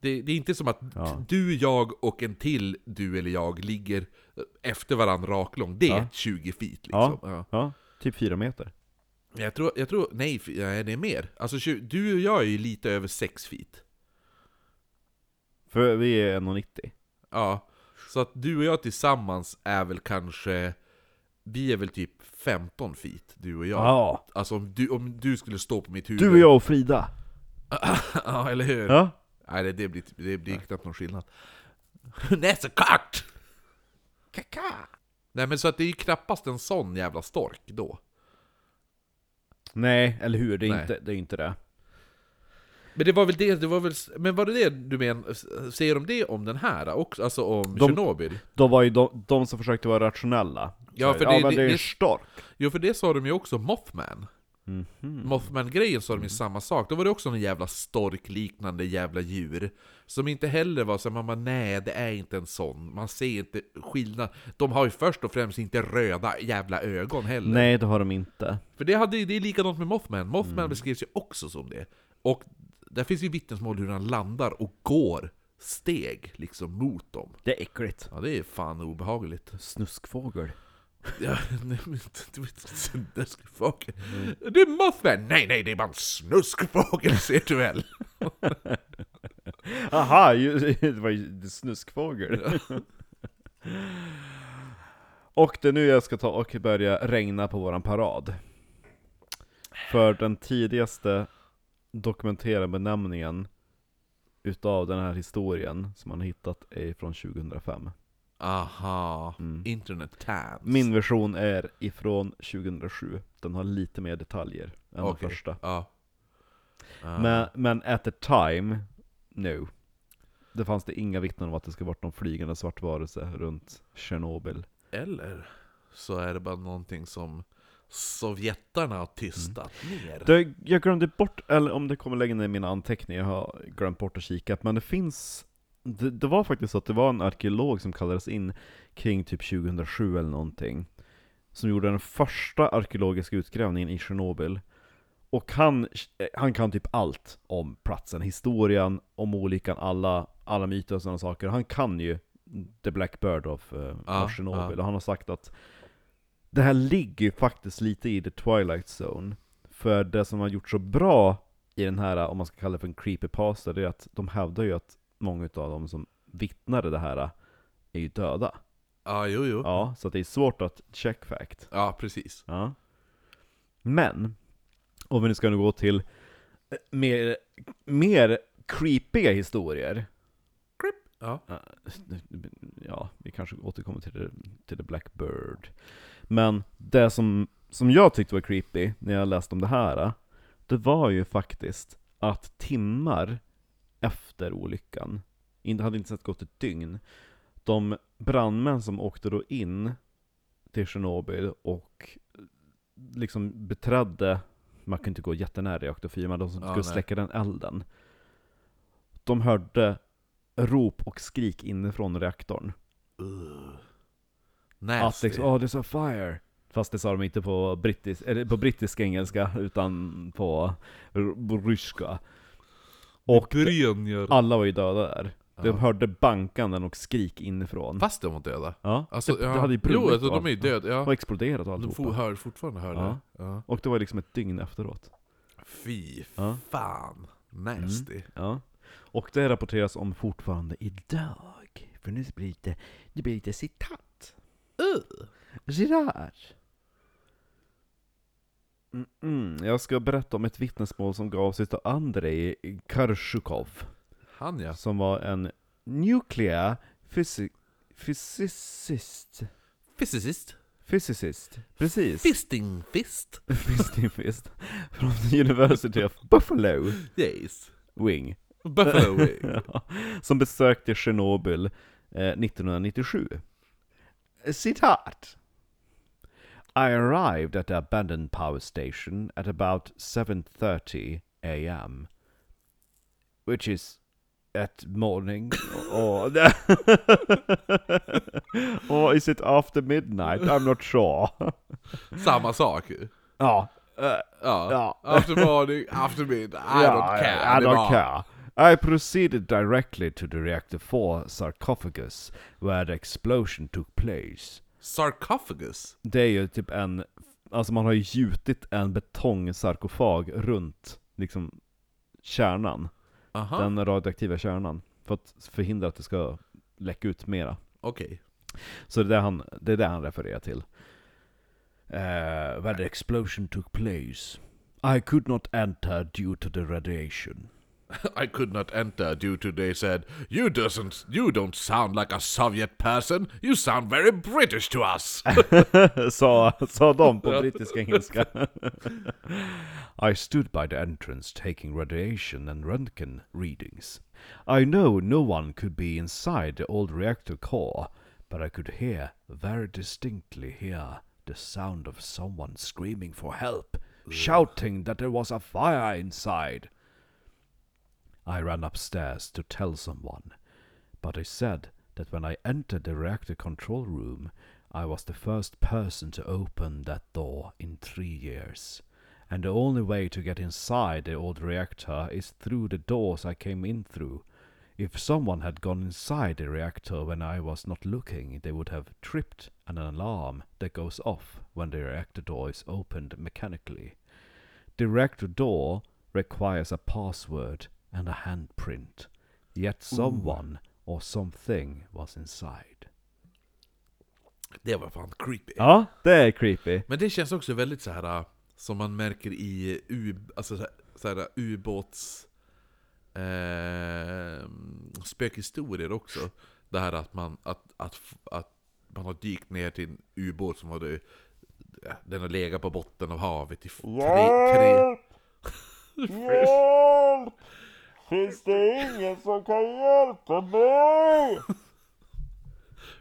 Det, det är inte som att
Ja.
du, jag och en till du eller jag ligger efter varandra raklång. Det är
Ja.
20 feet liksom.
Ja.
Ja.
ja, typ fyra meter.
Jag, tror, jag tror, nej, f- nej det är mer. Alltså tju- du och jag är ju lite över 6 feet.
För vi är 1,90.
Ja, så att du och jag tillsammans är väl kanske... Vi är väl typ 15 feet, du och jag.
Ja.
Alltså om du, om du skulle stå på mitt huvud.
Du och jag och Frida.
ja, eller hur?
Ja.
Nej, det, det, blir, det blir knappt någon skillnad. Näsekart! Kaka! Nej men så att det är ju knappast en sån jävla stork då.
Nej, eller hur? Det är,
Nej.
Inte, det är inte det.
Men det var väl det, det var väl, men var det det du menar, säger de det om den här också? Alltså om
De-
Tjernobyl?
Då var ju de, de som försökte vara rationella.
Ja,
Så,
för
ja
det-
men
det-
det är ju
det-
en stork.
Jo för det sa de ju också, Mothman.
Mhm.
Mothman-grejen sa de ju samma sak, då var det också någon jävla storkliknande jävla djur. Som inte heller var så man bara nej det är inte en sån, man ser inte skillnad. De har ju först och främst inte röda jävla ögon heller.
Nej, det har de inte.
För det, hade, det är likadant med Mothman, Mothman beskrivs ju också som det. Och där finns ju vittnesmål hur han landar och går steg liksom mot dem.
Det är äckligt.
Ja det är fan obehagligt.
Snuskfågel.
Ja, nej, men du vet, snuskfågel. Det är Mothman! Nej nej, det är bara en snuskfågel ser du väl!
Aha, ju, det var ju snuskfågel. och det är nu jag ska ta och börja regna på våran parad. För den tidigaste dokumenterade benämningen utav den här historien som man har hittat är från 2005.
Aha,
Mm.
internet tabs.
Min version är ifrån 2007. Den har lite mer detaljer än
Okej.
den första.
Ja. Ah.
Men, men at the time, no. Det fanns det inga vittnen om att det skulle varit någon flygande svart varelse runt Tjernobyl.
Eller så är det bara någonting som sovjetarna har tystat
Mm.
ner.
Det, jag glömde bort, eller om det kommer längre ner i mina anteckningar, jag har glömt bort att kika, men det finns det, det var faktiskt så att det var en arkeolog som kallades in kring typ 2007 eller någonting. Som gjorde den första arkeologiska utgrävningen i Tjernobyl. Och han, han kan typ allt om platsen, historien, om olyckan, alla, alla myter och sådana saker. Han kan ju The Black Bird of, eh,
Ja,
av Tjernobyl.
ja.
Och han har sagt att det här ligger ju faktiskt lite i The Twilight Zone. För det som har gjort så bra i den här, om man ska kalla det för en creepypasta, det är att de hävdar ju att många av dem som vittnade det här är ju döda.
Ja, jo, jo. Ja,
Ja, så att det är svårt att check fact.
precis.
Ja. Men, om vi nu ska nu gå till eh, mer, mer creepiga historier.
Ja.
Ja, vi kanske återkommer till det, till the Black Bird. Men det som, som jag tyckte var creepy när jag läste om det här, det var ju faktiskt att timmar efter olyckan, inte hade inte sett gått ett dygn, de brandmän som åkte då in till Tjernobyl och liksom beträdde, man kunde inte gå jättenära reaktor 4, men de som
Ja,
skulle
nej.
släcka den elden, de hörde rop och skrik inifrån reaktorn.
Uh.
Att
Nasty.
liksom, oh there's a fire! Fast det sa de inte på, brittis, eller på brittisk engelska, utan på r- ryska. Och
Brynjör.
alla var ju döda där.
Ja.
De hörde bankanden och skrik inifrån.
Fast de var döda.
Ja.
Alltså,
det,
ja.
det hade ju brunnit
Jo, alltså,
och
de är ju
allt. Ja.
döda. Ja.
Och exploderat och
De
alltihopa.
for, hör, fortfarande hör
Ja.
det. Ja.
Och det var liksom ett dygn efteråt.
Fy
Ja.
fan. Nasty.
Ja. Och det rapporteras om fortfarande idag. För nu blir det lite, det blir lite citat. Girard. Mm -mm. Jag ska berätta om ett vittnesmål som gavs utav Andrei Karshukov.
Han ja.
Som var en nuclear physi- physicist.
Physicist.
Physicist. Precis.
Fisting fist.
Fist in fist. Från the University of Buffalo
Yes.
Wing.
Buffalo Wing.
Ja, som besökte Tjernobyl eh, 1997. Citat. I arrived at the abandoned power station at about 7.30 am. Which is at morning or, or is it after midnight? I'm not sure.
Samma sak ju.
ja, eh,
Ja.
Ja.
After morning, after mid, I don't
Yeah,
care.
I, I
Det
don't
var-
care. I proceeded directly to the reactor 4 sarcophagus where the explosion took place.
Sarcophagus.
Det är ju typ en, alltså man har ju gjutit en betongsarkofag runt liksom kärnan,
Aha. Uh-huh.
den radioaktiva kärnan. För att förhindra att det ska läcka ut mera.
Okej.
Så det är det han, det är det han refererar till. Uh, where the explosion took place. I could not enter due to the radiation.
I could not enter due to they said, You doesn't you don't sound like a Soviet person, you sound very British to us.
sa, sa de på brittiska engelska. I stood by the entrance taking radiation and röntgen readings. I know no one could be inside the old reactor core, but I could hear, very distinctly hear, the sound of someone screaming for help, shouting that there was a fire inside. I ran upstairs to tell someone, but I said that when I entered the reactor control room, I was the first person to open that door in three years. And the only way to get inside the old reactor is through the doors I came in through. If someone had gone inside the reactor when I was not looking, they would have tripped an alarm that goes off when the reactor door is opened mechanically. The reactor door requires a password and a handprint. Yet someone or something was inside.
Det var fan creepy.
Ja, det är creepy.
Men det känns också väldigt så här äh, som man märker i u, alltså så här, så här, ubåts eh, spökhistorier också. Det här att man, att, att, f- att man har dykt ner till en ubåt som hade, den har legat på botten av havet i f- tre, tre,
Hjälp! Finns det ingen som kan hjälpa mig?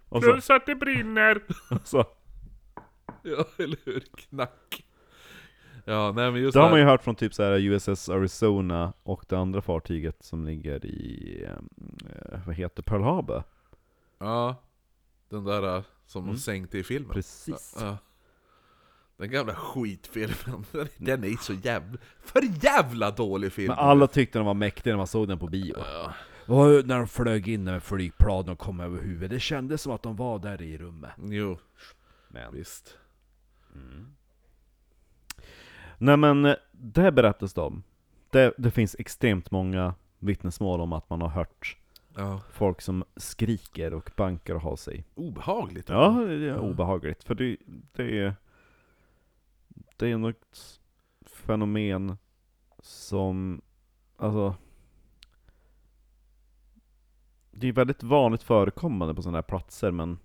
Och
Alltså.
så,
Plus att det brinner.
så,
ja eller hur, knack. Ja, nej men just
det
det
har
här-
man ju hört från typ så här USS Arizona och det andra fartyget som ligger i, eh, vad heter Pearl Harbor?
Ja, den där äh, som de sänkte i filmen.
Mm. Precis.
Ja. Den gamla skitfilmen, den, den är så jävla, för jävla dålig film!
Men alla tyckte den var mäktig när man såg den på bio.
Ja.
Och när de flög in med flygplan och kom över huvudet, det kändes som att de var där i rummet. Typ.
Jo,
Men.
visst.
Nej men, eh, det här berättas det om. Det, det finns extremt många vittnesmål om att man har hört
Ja.
folk som skriker och bankar och har sig.
Obehagligt.
Ja, det är obehagligt. För det, det är Det är något fenomen som, alltså Det är väldigt vanligt förekommande på sådana här platser men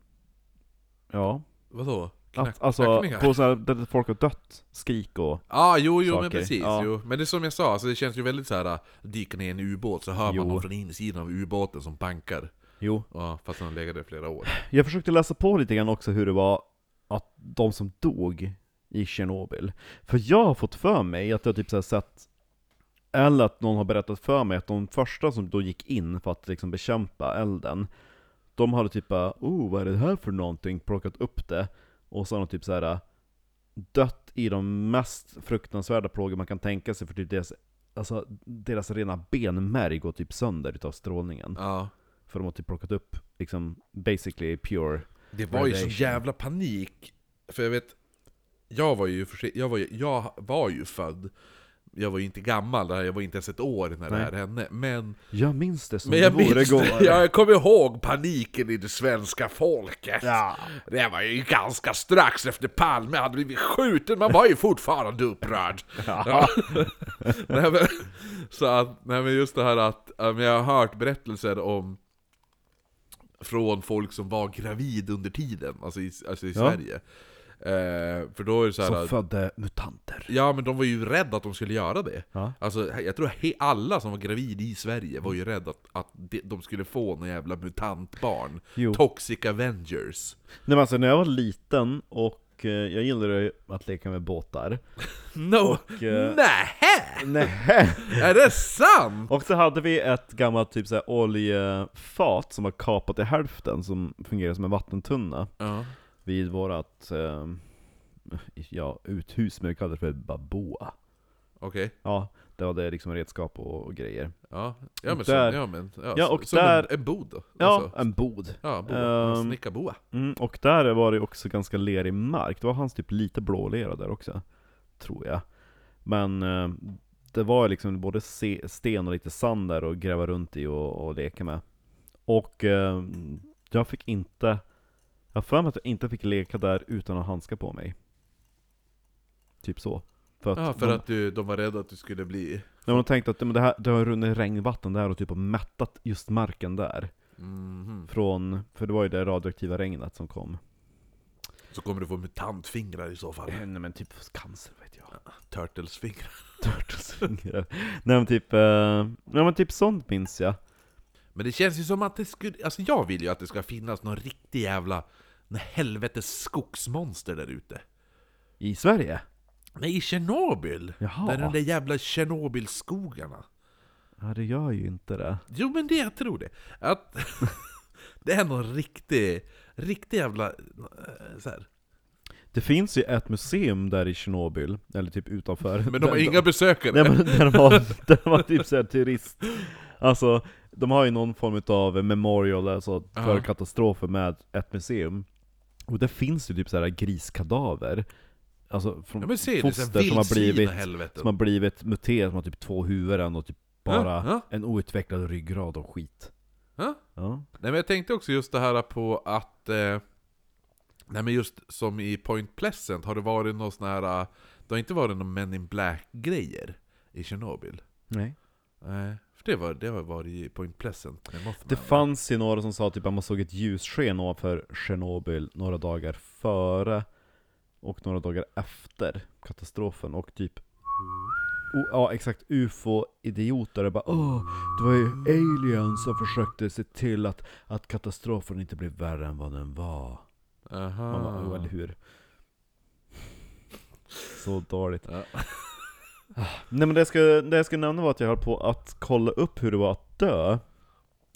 Ja,
Vadå?
att, alltså
knackningar?
på sådana här, där folk har dött, skrik och
Ja, jo, jo, men
saker.
precis.
Ja.
Jo. Men det är som jag sa, alltså, det känns ju väldigt så här. dyker ner i en ubåt så hör
Jo.
man någon från insidan av ubåten som bankar.
Jo,
Ja, fast den har legat där i flera år.
jag försökte läsa på lite grann också hur det var att de som dog i Tjernobyl. För jag har fått för mig att jag typ så här sett, eller att någon har berättat för mig att de första som då gick in för att liksom bekämpa elden, de hade typ bara oh vad är det här för någonting? Plockat upp det, och så har de typ så här dött i de mest fruktansvärda plågor man kan tänka sig för typ deras, alltså deras rena benmärg går typ sönder utav strålningen.
Ja.
För de har typ plockat upp liksom basically pure
Det var ju så
Radiation.
jävla panik. För jag vet, jag var ju, för, sig- jag var ju, jag var ju född, jag var ju inte gammal, jag var inte ens ett år när det
Nej.
här hände. Men,
Jag minns det som
men jag
det vore
minns
igår.
det, jag kommer ihåg paniken i det svenska folket.
Ja.
Det var ju ganska strax efter Palme hade blivit skjuten, man var ju fortfarande upprörd. Ja. nej, men, så att, nej men just det här att, ja, men jag har hört berättelser om från folk som var gravid under tiden, alltså i, alltså i Sverige. Eh, för då är det så här
Som
att,
födde mutanter.
Ja men de var ju rädda att de skulle göra det.
Typ. Ja.
Alltså, jag tror he- alla som var gravida i Sverige var ju rädda att, att de- de skulle få några jävla mutantbarn.
Jo.
Toxic Avengers.
Nej, men alltså, när jag var liten och eh, jag gillade att leka med båtar.
No!
eh,
Nähä!
Nej.
Är det sant?
Och så hade vi ett gammalt typ så här, oljefat som var kapat i hälften som fungerade som en vattentunna
Ja.
vid vårat eh, ja, uthus, men vi kallade det för baboa.
Okej.
Ja, det var det liksom redskap och, och grejer.
Ja. ja men
Där.
som, ja, men, ja,
Ja,
så-
och
som
där-
en, en bod då.
Ja,
Alltså,
en bod.
ja, boa.
Ehm.
Snickarboa.
Mm, och där var det också ganska lerig mark, det var hans typ lite blålera där också, tror jag. Men eh, det var liksom både se- sten och lite sand där att gräva runt i och, och leka med. Och eh, jag fick inte, jag har för mig att jag inte fick leka där utan att ha handskar på mig. Typ så. För att,
Ja, för
de,
att du, de var rädda att du skulle bli...
Nej, men de tänkte att men det, här, det har runnit regnvatten där och typ har mättat just marken där.
Mhm.
Från, för det var ju det radioaktiva regnet som kom.
Så kommer du få mutantfingrar i så fall.
Eh, Nej men typ cancer vet jag.
Turtlesfingrar.
Turtlesfingrar. Nej men typ, eh, nej, men typ sånt minns jag.
Men det känns ju som att det skulle... Alltså jag vill ju att det ska finnas någon riktig jävla... Någon helvetes skogsmonster där ute.
I Sverige?
Nej, i Tjernobyl!
Jaha.
Där de där jävla Tjernobylskogarna.
Ja det gör ju inte det.
Jo men det, jag tror det. Att det är någon riktig, riktig jävla... eh, Så här.
Det finns ju ett museum där i Tjernobyl, eller typ utanför.
Men de har
Där-
inga besökare.
Nej, men där de har, där de har typ såhär turist. Alltså, de har ju någon form av memorial alltså, för
Ja.
katastrofer med ett museum. Och där finns ju typ såhär griskadaver. Alltså från
Ja men se, det är så här
foster som har
vildsvin
blivit,
och helvete.
som har blivit muterat, som har typ två huvuden och typ bara
Typ. Ja, ja.
en outvecklad ryggrad och skit.
Ja?
Ja.
Nej men jag tänkte också just det här på att... Eh, nej men just som i Point Pleasant, har det varit någon sån här... eh, Det har inte varit någon Men in Black-grejer i Tjernobyl?
Nej.
Nej. För det var det har varit i Point Pleasant med Mothman.
Det fanns ju några som sa typ att man såg ett ljussken ovanför Tjernobyl några dagar före och några dagar efter katastrofen och typ o- Ja exakt, ufo-idioter och bara Åh, det var ju aliens som försökte se till att, att katastrofen inte blev värre än vad den var. Man bara, "Åh,
Aha.
eller hur? Så dåligt.
Ja.
Ah, Nej men det jag, ska, det jag ska nämna var att jag höll på att kolla upp hur det var att dö.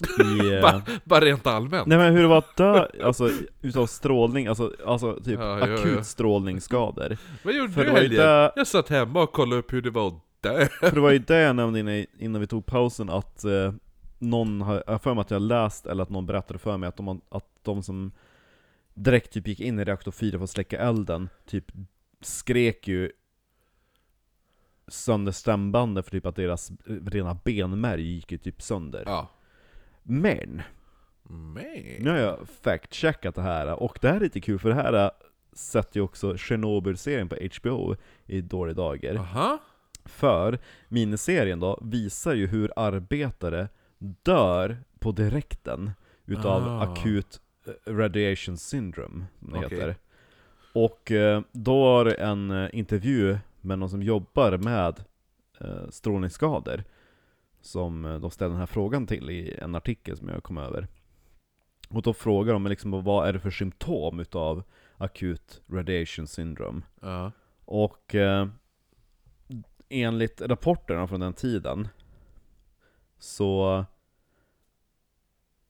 I, eh,
Bara, bara rent allmänt.
Nej men hur det var att dö, alltså utav strålning, alltså, alltså typ
Ja, ja, ja.
akut strålningsskador.
Vad gjorde
För
du
det var ju
helgen?
det-
Jag satt hemma och kollade upp hur det var att dö.
För det var ju det jag nämnde innan, innan vi tog pausen, att eh, någon har, jag har för mig att jag läst, eller att någon berättade för mig att de, att de som direkt typ gick in i reaktor 4 för att släcka elden, typ skrek ju sönder stämbanden för typ att deras eh, rena benmärg gick ju typ sönder.
Ja.
Men!
Men.
Nu har jag fact-checkat det här, och det här är lite kul för det här eh, sätter ju också Chernobyl-serien på HBO i dåliga dagar.
Aha.
För miniserien då visar ju hur arbetare dör på direkten utav
Ah.
akut eh, radiation syndrome, som det
Okej.
heter. Och eh, då var det en eh, intervju med någon som jobbar med eh, strålningsskador som eh, de ställde den här frågan till i en artikel som jag kom över. Och då frågar de liksom vad är det för symptom utav akut radiation syndrome?
Ja.
Och eh, enligt rapporterna från den tiden så...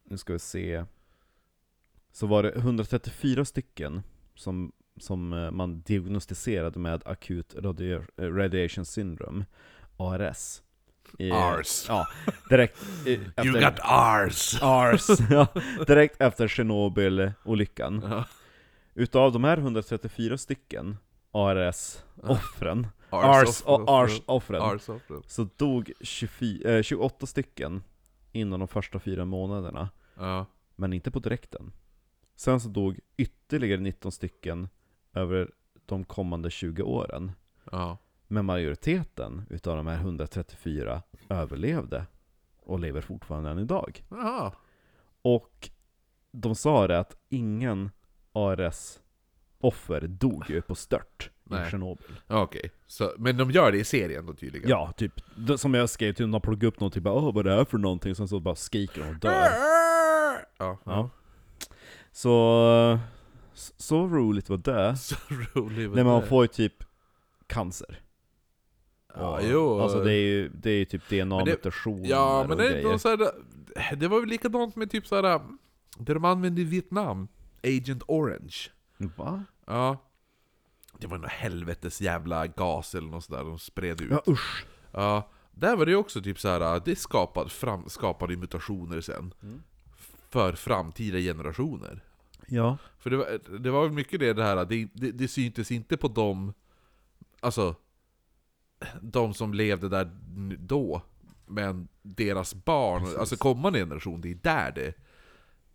Nu ska vi se. Så var det 134 stycken som, som eh, man diagnostiserade med akut radio, eh, radiation syndrome, ARS. I,
Ars.
Ja, direkt eh, efter...
You got ours!
ARS! ja, direkt efter Tjernobyl-olyckan.
Ja.
Utav de här 134 stycken ARS-offren,
Ars
Ars-
off-
och Ars-offren,
Ars offren.
så dog 24, eh, 28 stycken inom de första fyra månaderna,
Ja.
men inte på direkten. Sen så dog ytterligare 19 stycken över de kommande 20 åren.
Ja.
Men majoriteten utav de här 134 överlevde och lever fortfarande än idag.
Jaha.
Och de sa det att ingen ARS-offer dog ju på stört
Nej.
i Tjernobyl.
Ja, Okej. Så- Men de gör det i serien då tydligen?
Ja, typ. Det, som jag skrev till dem, de plockade upp något typ bara, Åh, vad är det här för någonting? Sen så bara skriker de och dör.
Ja.
Ja. Så, så roligt var det.
Så roligt.
Nej men man får ju typ cancer.
Ja,
Och-
jo.
Alltså det är ju, det är ju typ DNA-mutationer
Ja, men
och
det, är
grejer.
någon så här, det var väl likadant med typ så här, det de använde i Vietnam, Agent Orange.
Va?
Ja. Det var någon helvetes jävla gas eller något sådär de spred ut.
Ja usch.
Ja, där var det ju också typ så här, det skapade, fram, skapade ju mutationer sen. För framtida generationer.
Ja.
För det var, det var väl mycket det, det här, det, det, det syntes inte på dem, alltså, de som levde där nu- då. Men deras barn, alltså kommande generation, det är där det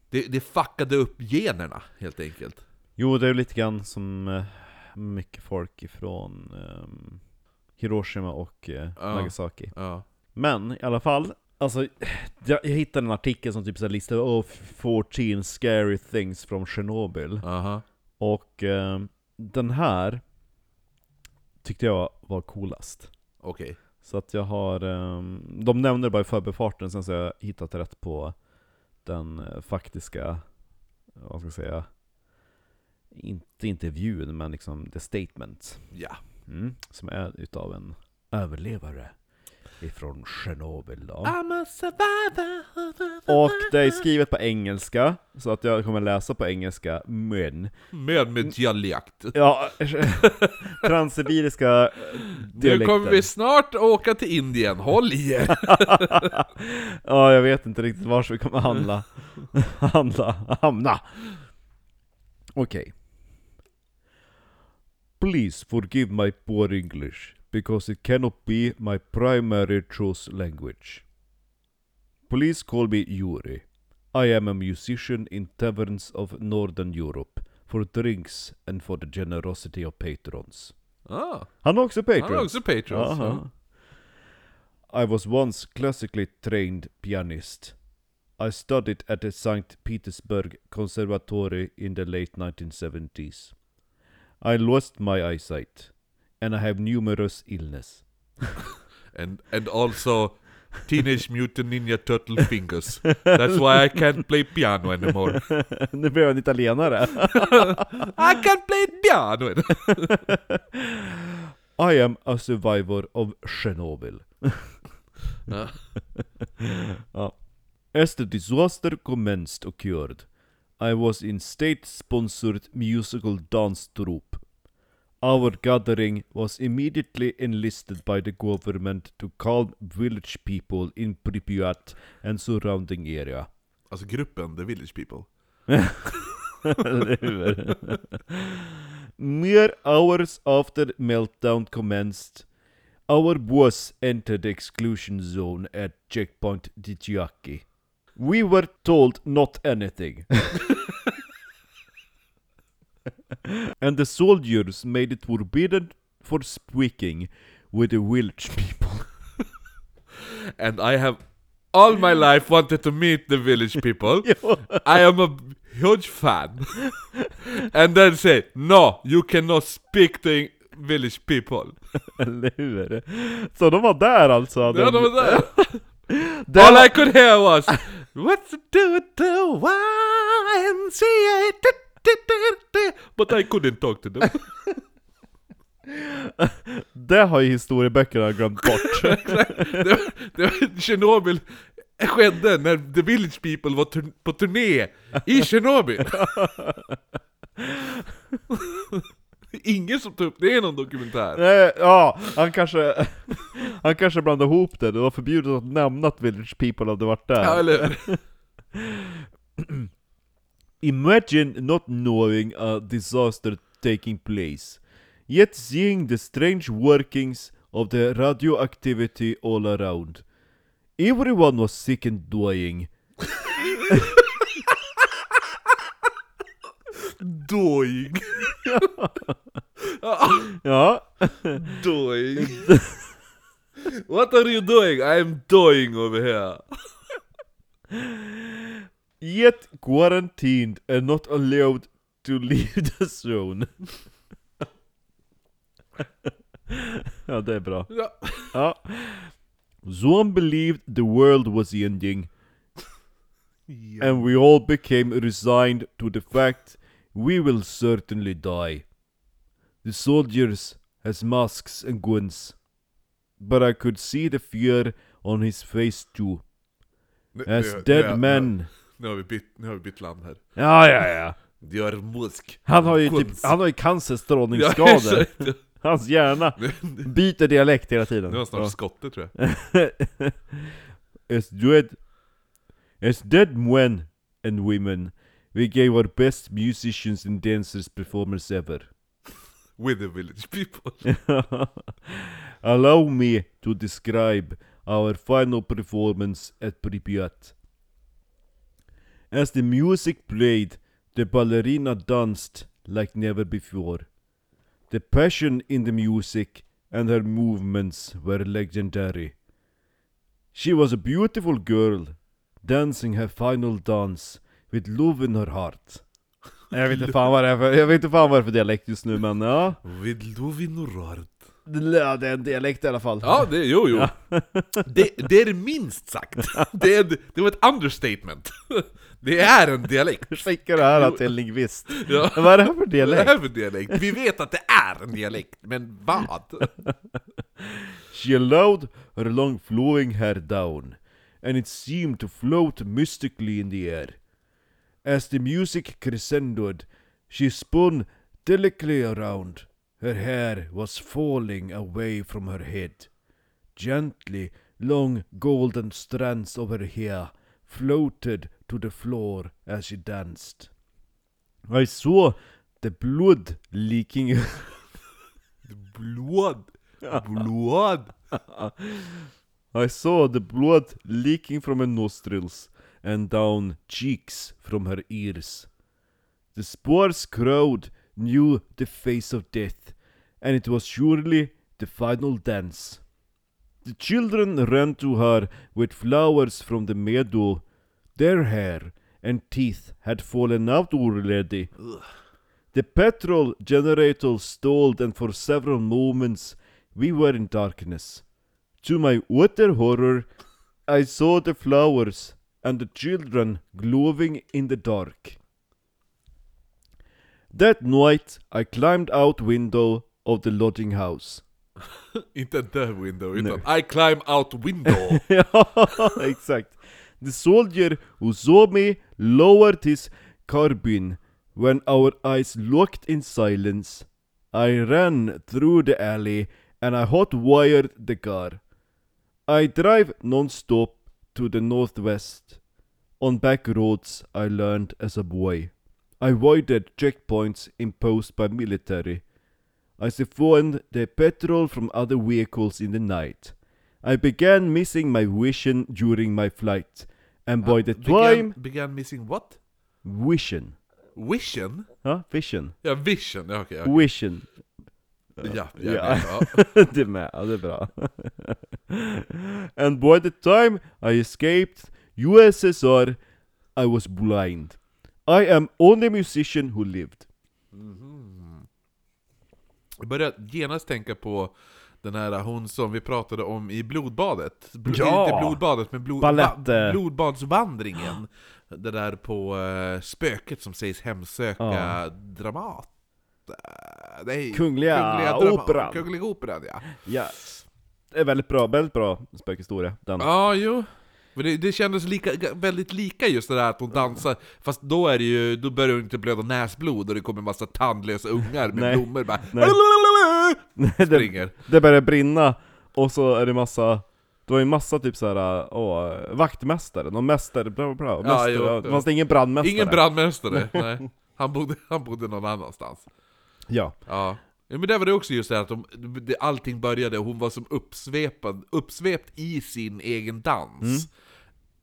Det, det fuckade upp generna, helt enkelt.
Jo, det är ju lite grann som eh, mycket folk ifrån ehm, Hiroshima och eh,
Ja.
Nagasaki.
Ja.
Men i alla fall, alltså jag, jag hittade en artikel som typ så här listade oh, 14 scary things from Chernobyl.
Aha.
Och eh, den här tyckte jag var coolast.
Okej.
Så att jag har, ehm, de nämnde det bara i förbifarten, sen så har jag hittat rätt på den eh, faktiska, vad ska jag säga, inte intervjun men liksom the statement.
Ja.
Mm, som är utav en överlevare ifrån Tjernobyl då.
I'm a survivor.
Och det är skrivet på engelska, så att jag kommer läsa på engelska, men...
Med min dialekt.
Ja, transsibiriska
Nu kommer
dialekten.
vi snart åka till Indien, håll i er!
Ja, jag vet inte riktigt vars vi kommer handla. handla, hamna. Okej. Please forgive my poor English, because it cannot be my primary choice language. Please call me Yuri. I am a musician in taverns of Northern Europe, for drinks and for the generosity of patrons.
Ah,
Han har också patrons!
han är också Patreon.
Aha. I was once classically trained pianist. I studied at the St. Petersburg Conservatory in the late 1970s. I lost my eyesight, and I have numerous illness.
And, and also Teenage Mutant Ninja Turtle Fingers. That's why I can't play piano anymore.
nu blev jag en italienare.
I can't play piano!
I am a survivor of Chernobyl.
Ja.
Ja. Ah. As the disaster commenced occurred, I was in state-sponsored musical dance troupe. Our gathering was immediately enlisted by the government to calm village people in Pripyat and surrounding area.
Alltså gruppen, The Village People.
Mere hours after meltdown commenced, our boss entered the exclusion zone at checkpoint Dityaki. We were told not anything. and the soldiers made it forbidden for speaking with the village people.
And I have all my life wanted to meet the Village People. I am a huge fan. and then say, no, you cannot speak the Village People.
Eller hur? Så de var där alltså?
Ja, de var där.
Det
All
var-
I could hear was What's it do it to YMCA?
eh,
But I couldn't talk to them.
Det har ju historieböckerna glömt bort.
det var, det var, Tjernobyl skedde när The Village People var tur, på turné i Tjernobyl. Ingen som tog upp det i någon dokumentär.
Nej, ja, han kanske, han kanske blandade ihop det. Det var förbjudet att nämna att Village People hade varit där.
Ja, eller hur?
Imagine not knowing a disaster taking place, yet seeing the strange workings of the radioactivity all around. Everyone was sick and dying.
Doing.
Ja,
doing? What are you doing? I'm doing over here.
yet quarantined and not allowed to leave the zone. ja, det är bra.
Ja.
Ja. Some believed the world was ending, and we all became resigned to the fact we will certainly die. The soldiers has masks and guns, but I could see the fear on his face too,
Nu-
as
nu-
dead
nu-
men.
Nu har vi bytt, nu har vi bytt land här.
Ja, ja, ja.
Dior Musk.
Han har ju typ,
Kunst.
han har ju cancer,
Ja,
strålningsskador.
exakt. Nu-
Hans hjärna
nu-
byter dialekt hela tiden.
Nu har han snart
Ja.
skotte tror jag.
as dead as dead men and women, we gave our best musicians and dancers performance ever.
With the village people.
Allow me to describe our final performance at Pripyat. As the music played, the ballerina danced like never before. The passion in the music and her movements were legendary. She was a beautiful girl, dancing her final dance with love in her heart. Jag vet inte fan vad det är för, jag vet inte fan vad det är för dialekt just nu men ja.
Vid Lovinorard.
Det lö- det är en dialekt i alla fall.
Ja, det, jo, jo. Det, det är det minst sagt. Det, är, det var ett understatement. Det är en dialekt.
Hur skickar du här till en lingvist?
Ja.
Vad är det här för
Vad
dialekt?
är det för dialekt? Vi vet att det är en dialekt, men vad?
She allowed her long flowing hair down, and it seemed to float mystically in the air. As the music crescendoed, she spun delicately around. Her hair was falling away from her head. Gently, long golden strands of her hair floated to the floor as she danced. I saw the blood leaking
Blod. Blod.
I saw the blood leaking from her nostrils and down cheeks from her ears. The sparse crowd knew the face of death, and it was surely the final dance. The children ran to her with flowers from the meadow. Their hair and teeth had fallen out already. The petrol generator stalled, and for several moments we were in darkness. To my utter horror, I saw the flowers and the children glowing in the dark. That night, I climbed out window of the lodging house.
Inte the window, utan I climb out window.
ja, exakt. The soldier who saw me lowered his carbine. When our eyes locked in silence, I ran through the alley and I hot wired the car. I drive non-stop to the northwest. On back roads I learned as a boy. I avoided checkpoints imposed by military. I siphoned the petrol from other vehicles in the night. I began missing my vision during my flight, and by the time
Began, began missing what?
vision,
Vision?
huh? Vision,
Ja, vision. Ja, okej. okej.
vision.
ja, ja,
Ja.
ja.
det är med, ja, det är bra. and by the time I escaped USSR, I was blind. I am only musician who lived.
Jag börjar genast tänka på den här hon som vi pratade om i blodbadet. Bl-
Ja!
Inte blodbadet, men blod-
Ballett,
va-
eh.
blodbadsvandringen. Det där på eh, spöket som sägs hemsöka Dramat. eh, Nej,
Kungliga Operan.
Kungliga Operan, ja.
Ja. Det är väldigt bra, väldigt bra spökhistoria. Den.
Ja, jo. Men det, det kändes lika, ga- väldigt lika just det där att hon dansar, fast då är det ju, då börjar hon inte blöda näsblod och det kommer en massa tandlösa ungar med
Nej.
blommor bara
Nej. det,
springer.
det börjar brinna, och så är det massa det var ju massa typ såhär, åh, vaktmästare, någon mästare, bla bla bla, mästare,
jo,
ja,
jo.
fanns det ingen brandmästare?
Ingen brandmästare, nej. Han bodde, han bodde någon annanstans.
Ja.
Ja. Ja, Men det var det också just det här att de, det, allting började, hon var som uppsvepad, uppsvept i sin egen dans.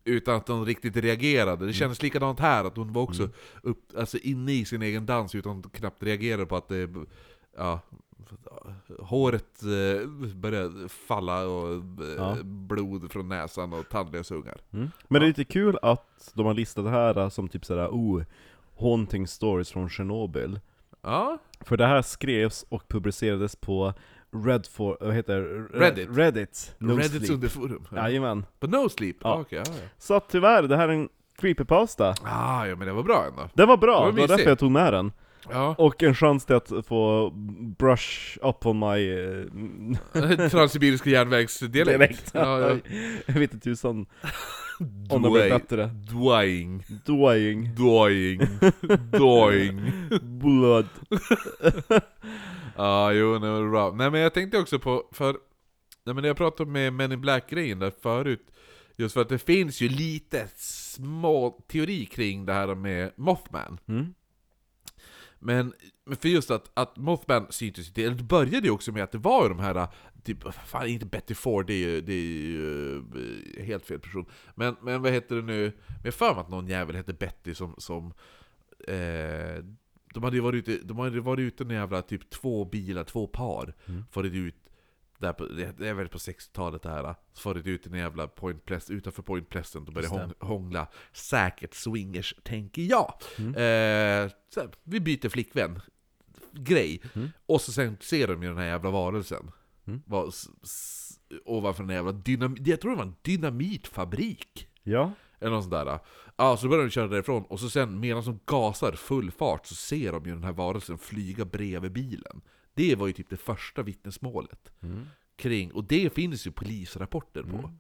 Utan att hon riktigt reagerade. Det kändes likadant här, att hon var också upp, alltså inne i sin egen dans utan att knappt reagerade på att det... Ja, håret eh, började falla och eh,
Ja.
blod från näsan och tandlösa ungar.
Men det är lite kul att de har listat det här som typ sådär, oh, Haunting Stories från Chernobyl.
Ja,
För det här skrevs och publicerades på Redfor, vad heter det?
Reddit.
Reddit. No
Reddits
sleep.
underforum. Ja.
Jajamän.
På No Sleep?
Ja.
Ah, okej, ja, ja.
Så att tyvärr, det här är en creepypasta.
Ah, ja men det var bra ändå.
Den var bra,
Det
det
var
var,
mysigt.
därför jag tog med den.
Ja.
Och en chans till att få brush up on my... eh, m-
Transsibiriska järnvägsdialekt.
Dialekt.
Ja, ja.
jag vet inte tusan om det blir
Dway-
bättre.
Dwaying.
Dwying.
Dwaying. Dwaying.
Blood.
Ja, jo, nej, men bra. Nej, men jag tänkte också på, för... Nej, men jag pratade med Men in Black-grejen där förut. Just för att det finns ju lite små teori kring det här med Mothman.
Mm.
Men men för just att, att Mothman syntes ju till, det började ju också med att det var ju de här, typ, fan inte Betty Ford, det är ju, det är ju eh, helt fel person. Men, men vad heter det nu, men jag har för mig att någon jävel hette Betty som, som eh, de hade ju varit ute, de hade varit ute en jävla typ två bilar, två par, farit ut där på, det det är väl på 60-talet det här, så farit ut i en jävla point Pleas- utanför Point Pleasant och började hång, hångla. Säkert swingers, tänker jag. Eh, så här, vi byter flickvän, grej. Och så sen ser de ju den här jävla varelsen. Var, s, s, ovanför den här jävla dynamit, jag tror det var en dynamitfabrik.
Ja.
Eller något sånt där. Ja, så börjar de köra därifrån och så sen medan de gasar full fart så ser de ju den här varelsen flyga bredvid bilen. Det var ju typ det första vittnesmålet. Kring, och det finns ju polisrapporter på.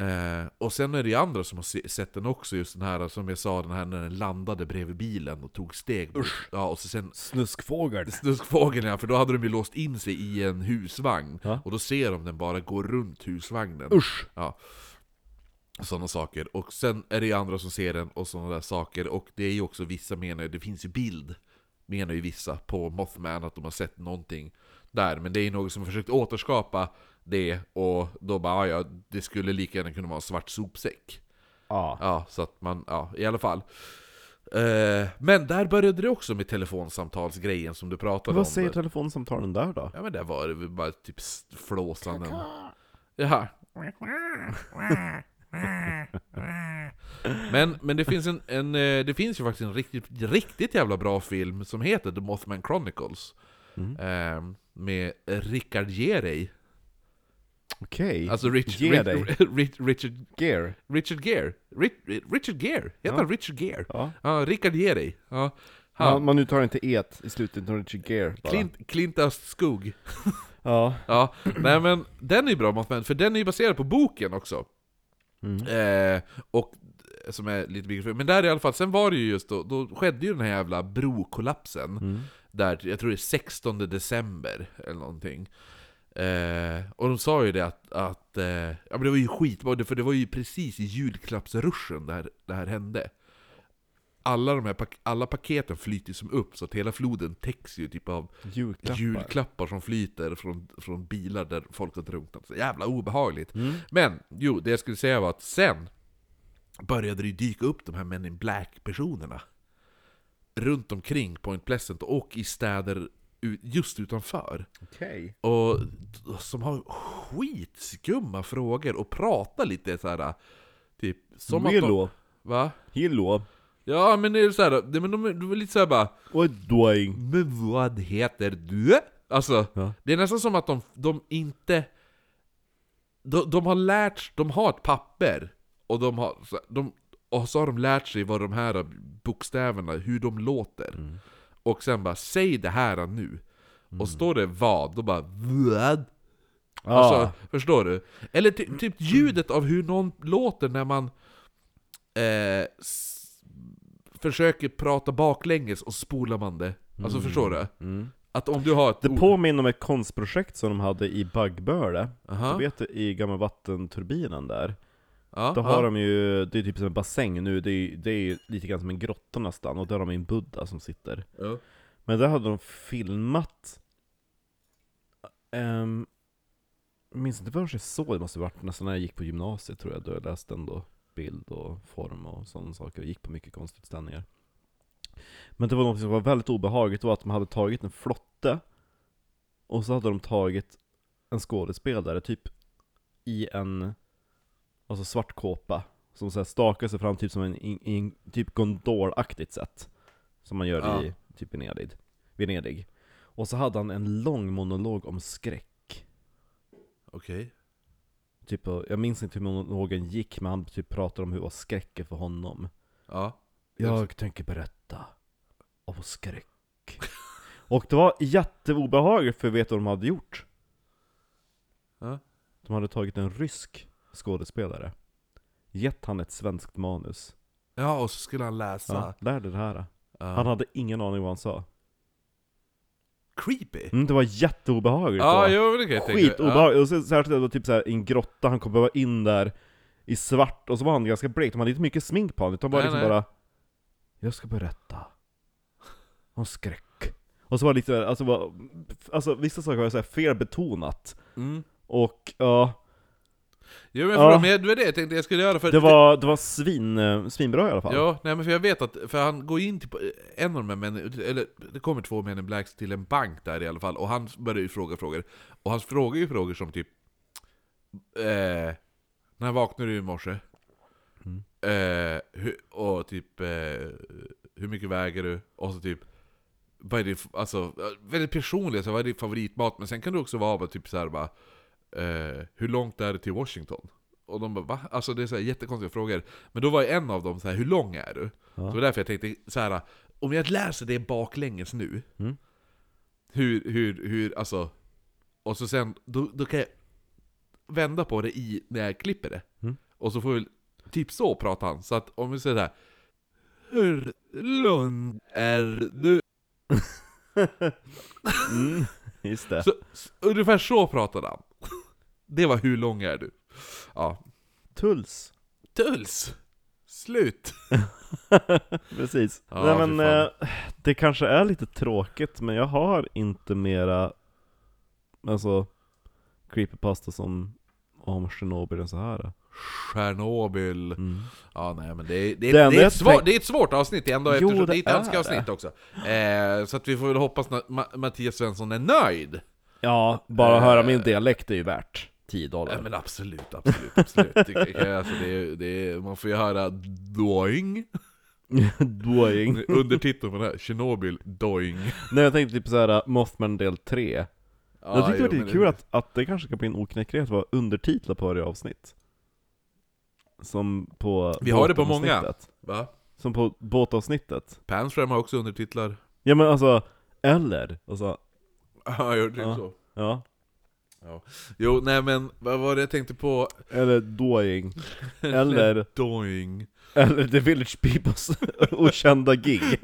Eh, och sen är det ju andra som har se- sett den också, just den här som jag sa, den här när den landade bredvid bilen och tog steg. mot- Ja, och så sen
Snuskfågel.
Snuskfågeln ja, för då hade de ju låst in sig i en husvagn.
Ja.
Och då ser de den bara gå runt husvagnen.
Usch!
Ja. Sådana saker. Och sen är det ju andra som ser den och sådana där saker. Och det är ju också vissa menar ju, det finns ju bild, menar ju vissa, på Mothman att de har sett någonting där. Men det är ju någon som har försökt återskapa det och då bara "Ah, ja, ja, det skulle lika gärna kunna vara en svart sopsäck.
Ja.
Ja, så att man, ja, i alla fall. Eh, men där började det också med telefonsamtalsgrejen som du pratade om.
Vad säger telefonsamtalen där då?
Ja men där var det väl bara typ s- flåsanden. Jaha. Men, men det, finns en, en, eh, det finns ju faktiskt en riktigt, riktigt jävla bra film som heter The Mothman Chronicles.
Mm.
Eh, med Richard Gere
Okej.
Alltså Rich,
Ge
Rich,
dig.
Rich, Richard,
Gear.
Richard Gere. Rich, Richard Gere? Heter han Richard Gere?
Ja.
Ja, Richard Gere. Ja.
Ja,
Han,
man uttalar inte et i slutet, utan Richard Gear bara.
Clint, Clint Östskog.
Ja.
Ja, nej men den är ju bra Mothman, för den är ju baserad på boken också. Eh, och eh, som är lite mycket, men där i alla fall, sen var det ju just då, då skedde ju den här jävla brokollapsen. Där, jag tror det är 16 december eller någonting. Eh, och de sa ju det att, att eh, ja men det var ju skitbra, för det var ju precis i julklappsruschen där det här hände. Alla, de här, pak- alla paketen flyter ju som upp, så att hela floden täcks ju typ av
Julklappar.
julklappar som flyter från, från bilar där folk har drunknat. Så jävla obehagligt.
Mm.
Men, jo, det jag skulle säga var att sen började det ju dyka upp de här Men in Black-personerna. Runt omkring Point Pleasant och i städer u- just utanför.
Okej.
Och t- som har skitskumma frågor och pratar lite så här. Typ som att de...
Willow.
Va?
Hillo.
Ja men det är så här, det, men de, är- de är lite så här bara
Och doing.
men vad heter du? Alltså,
Ja.
det är nästan som att de, de inte... De, de har lärt sig- de har ett papper och de har... så- De, och så har de lärt sig vad de här bokstäverna, hur de låter. Och sen bara, säg det här nu. Och står det vad, då bara vad?
Ja.
Alltså, förstår du? Eller ty, typ ljudet av hur någon låter när man eh, s- försöker prata baklänges och spolar man det. Alltså förstår du? Att om du har ett
Mm. Det
ord-
påminner om ett konstprojekt som de hade i Baggböle,
Aha.
du vet i gamla vattenturbinen där.
ja,
Då
ja.
har de ju, det är typ som en bassäng nu, det är, ju- det är ju lite grann som en grotta nästan, och där har de en buddha som sitter.
Ja.
Men där hade de filmat, um, jag minns inte vad jag såg, det måste ha varit nästan när jag gick på gymnasiet tror jag, då jag läste ändå bild och form och sådana saker, och gick på mycket konstutställningar. Men det var något som var väldigt obehagligt, det var att de hade tagit en flotte, och så hade de tagit en skådespelare, typ i en alltså svart kåpa, som så här stakar sig fram typ som en, i, i en typ gondolaktigt sätt. Som man gör
Ja.
i typ Venedig. Venedig. Och så hade han en lång monolog om skräck.
Okej.
Typ, och- jag minns inte hur monologen gick, men han typ pratade om hur vad skräck är för honom.
Ja.
Jag tänker berätta om skräck. Och det var jätteobehagligt för vet du vad de hade gjort?
Ja.
De hade tagit en rysk skådespelare, gett han ett svenskt manus.
ja, och så skulle han
Ja,
läsa.
lär dig det här.
Ja.
Han hade ingen aning vad han sa.
Creepy!
Mm, det var jätteobehagligt.
Ja,
det
jo, men det kan jag
var
tänka mig. Ja.
skitobehagligt. Och så, särskilt att det var typ så här, i en grotta, han kom bara in där i svart, och så var han liksom ganska blek. De hade inte mycket smink på honom, utan bara
Nej,
liksom
nej.
bara Jag ska berätta och skräck. Och så var det lite såhär, alltså, var, alltså vissa saker var såhär felbetonat.
Mm.
Och ja,
Jo men
Ja.
för ja. det var det jag tänkte jag skulle göra för...
det var, det var svin, eh, svinbra i alla fall.
Ja, nej men för jag vet att, för han går in till en av de här männen, eller det kommer två män i Blacks till en bank där i alla fall, och han börjar ju fråga frågor. Och han frågar ju frågor som typ... Eh, när vaknade du i morse?
Mm.
Eh, hur, och typ, eh, hur mycket väger du? Och så typ, vad är din, alltså, väldigt personligt, så vad är din favoritmat? Men sen kan det också vara bara typ såhär bara, eh, hur långt är det till Washington? Och de bara va? Alltså det är så här jättekonstiga frågor. Men då var ju en av dem så här, hur lång är du? Så det var därför jag tänkte så här. om jag läser det baklänges nu,
Mm.
hur, hur, hur, alltså, och så sen, då, då kan jag vända på det i, när jag klipper det.
Mm.
Och så får vi, typ så pratar han. Så att om vi säger så här. Hur lång är du?
Mm, just det.
Så, s- ungefär så pratade han. Det var hur lång är du? Ja.
Tulls.
Tuls! Slut!
Precis.
Ja,
Nej,
fy
men,
fan.
eh, det kanske är lite tråkigt, men jag har inte mera alltså, creepypasta som om Chernobyl än så här.
Tjernobyl.
Mm.
Ja, nej men det är, det
Det
är, det
enda
är,
jag
ett, svår,
tänk-
det är ett svårt avsnitt ändå
Jo,
eftersom det
det
är ett
är
önskeavsnitt också. Eh, så att vi får väl hoppas att Ma- Mattias Svensson är nöjd.
Ja, bara
Eh.
höra min dialekt är ju värt 10
Ja,
dollar.
men absolut, absolut, absolut. Det- det- alltså, det, är- det, är- man får ju höra doing
Doing.
under titeln på den här, Tjernobyl doing.
Nej jag tänkte typ såhär, Mothman del 3.
Ja,
jag tyckte det
jo,
var lite
men-
kul att, att det kanske kan bli en oknäcklighet att vara undertitlar på varje avsnitt. Som på
Vi har det på många.
båtavsnittet.
Va?
Som på båtavsnittet.
Panfram har också undertitlar.
Ja men alltså, eller, alltså, och så,
Ja, jag gjorde
Ja.
så.
ja.
Jo, nej men vad var det jag tänkte på?
Eller doing. Eller,
Doing.
eller The Village Peoples okända gig.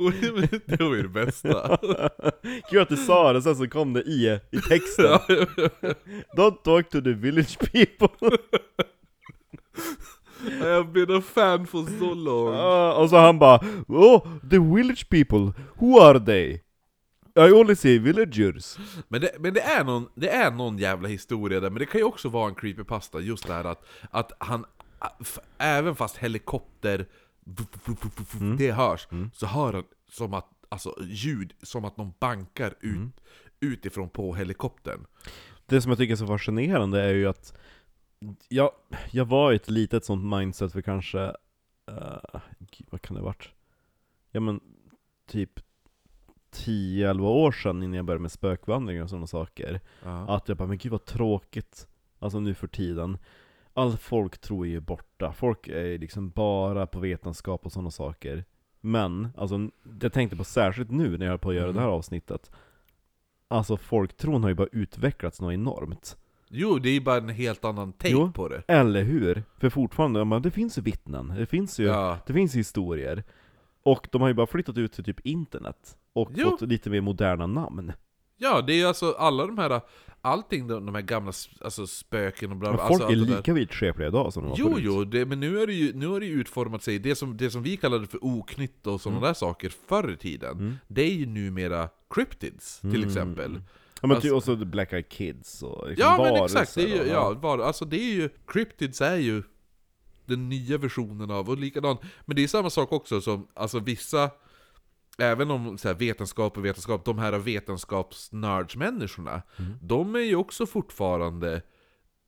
det var ju det bästa.
Kul att du sa det, sen så kom det i, i texten. Don't talk to the village people.
I have been a fan for so long.
Ah, och så han bara Oh, the village people, who are they? I only see villagers.
Men, det, men det, är någon, det är någon jävla historia där, men det kan ju också vara en creepypasta, just det här att, att han, f- även fast helikopter,
Mm.
det hörs, så hör han som att, alltså ljud, som att någon bankar ut,
Mm.
utifrån på helikoptern.
Det som jag tycker är så fascinerande är ju att jag, jag var i ett litet sånt mindset för kanske, eh, gud, vad kan det ha varit? Ja men typ 10-11 år sedan innan jag började med spökvandringar och sådana saker.
Ja.
Att jag bara, men gud vad tråkigt. Alltså nu för tiden. All folk tror ju borta. Folk är ju liksom bara på vetenskap och sådana saker. Men, alltså jag tänkte på särskilt nu när jag höll på att göra
Mm.
det här avsnittet. Alltså folktron har ju bara utvecklats något enormt.
Jo, det är ju bara en helt annan take
Jo.
på det.
Eller hur? För fortfarande, ja, men det finns ju vittnen, det finns ju,
Ja.
det finns historier. Och de har ju bara flyttat ut till typ internet. Och
Jo.
fått lite mer moderna namn.
ja, det är ju alltså alla de här, allting de, de här gamla s- alltså, spöken och bla
Men
bla.
folk
alltså,
är
allt det där.
lika vidskepliga idag som de var
Jo,
förut.
jo, det, men nu har det ju, nu har det ju utformat sig, det som, det som vi kallade för oknytt och sådana där saker förr i tiden, det är ju numera cryptids till exempel.
Ja men ty, och så Black Eyed Kids och liksom
Alltså- Ja men
varelser
exakt, det är
och-
ju, ja, var, alltså det är ju, cryptids är ju den nya versionen av, och likadan, men det är samma sak också som, alltså vissa, även om så här, vetenskap och vetenskap, de här vetenskapsnördsmänniskorna,
Mm.
de är ju också fortfarande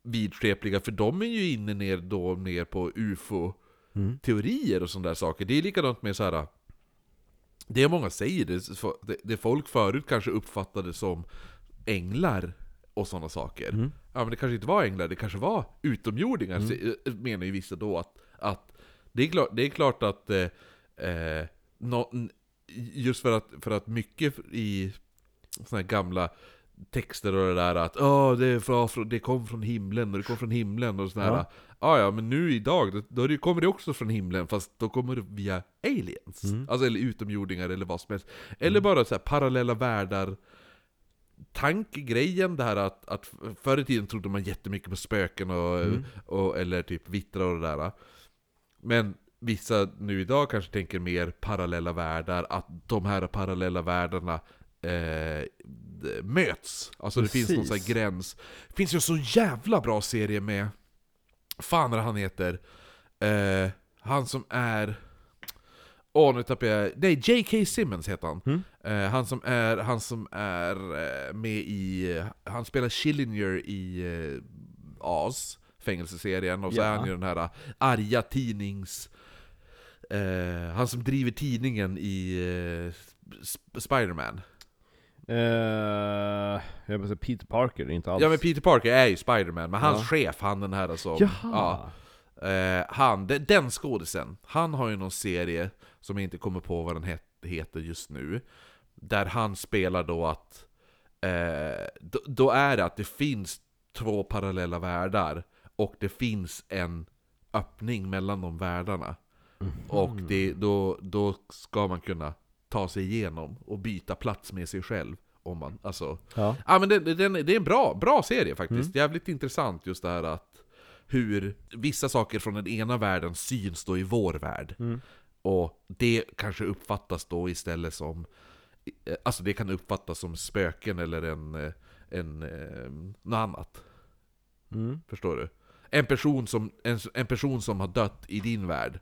vidskepliga, för de är ju inne ner, då, ner på UFO,
Mm.
teorier och sådana där saker. Det är likadant med så här. Det många säger, det- det, det folk förut kanske uppfattade som änglar och sådana saker. Ja men det kanske inte var änglar, det kanske var utomjordingar, se- menar ju vissa då att, att det, är klart, det är klart att eh, eh, nå- n- just för att, för att mycket i såna här gamla texter och det där att oh, det, är fra- från- det kom från himlen och det kom från himlen och sådär. Ja.
Ja.
Ah, ja, men nu idag då, då är det- kommer det också från himlen fast då kommer det via aliens. Alltså eller utomjordingar eller vad som helst. Eller bara så här parallella världar tankegrejen det här att, att förr i tiden trodde man jättemycket på spöken och, och eller typ vittrar och det där. Men vissa nu idag kanske tänker mer parallella världar, att de här parallella världarna eh, d- möts. Alltså det finns någon sån
Precis.
här gräns. Det finns ju en så jävla bra serie med, fan vad han heter, eh, han som är Åh, nu tappade jag... Nej, J.K. Simmons heter han. Eh, han som är, han som är eh, med i... eh, Han spelar Chillinger i eh, As, fängelseserien. Och så
Ja.
är han ju den här eh, arga tidnings... Eh, han som driver tidningen i eh, Sp- Spider-Man.
Eh, jag vill säga Peter Parker, inte alls.
Ja men Peter Parker är ju Spider-Man, men hans
Ja.
chef, han den här som...
Jaha!
Ja, Eh, han, de- den skådisen, han har ju någon serie som jag inte kommer på vad den het, heter just nu. Där han spelar då att... Eh, då, då är det att det finns två parallella världar och det finns en öppning mellan de världarna.
Mhm.
Och det, då, då ska man kunna ta sig igenom och byta plats med sig själv. Om man, alltså,
Ja.
Ja men den, den, det är en bra, bra serie faktiskt.
Mm.
Jävligt intressant just det här att hur vissa saker från den ena världen syns då i vår värld.
Mm.
Och det kanske uppfattas då istället som, eh, alltså det kan uppfattas som spöken eller en, eh, en, eh, något annat.
Mm.
Förstår du? En person, som, en, en person som har dött i din värld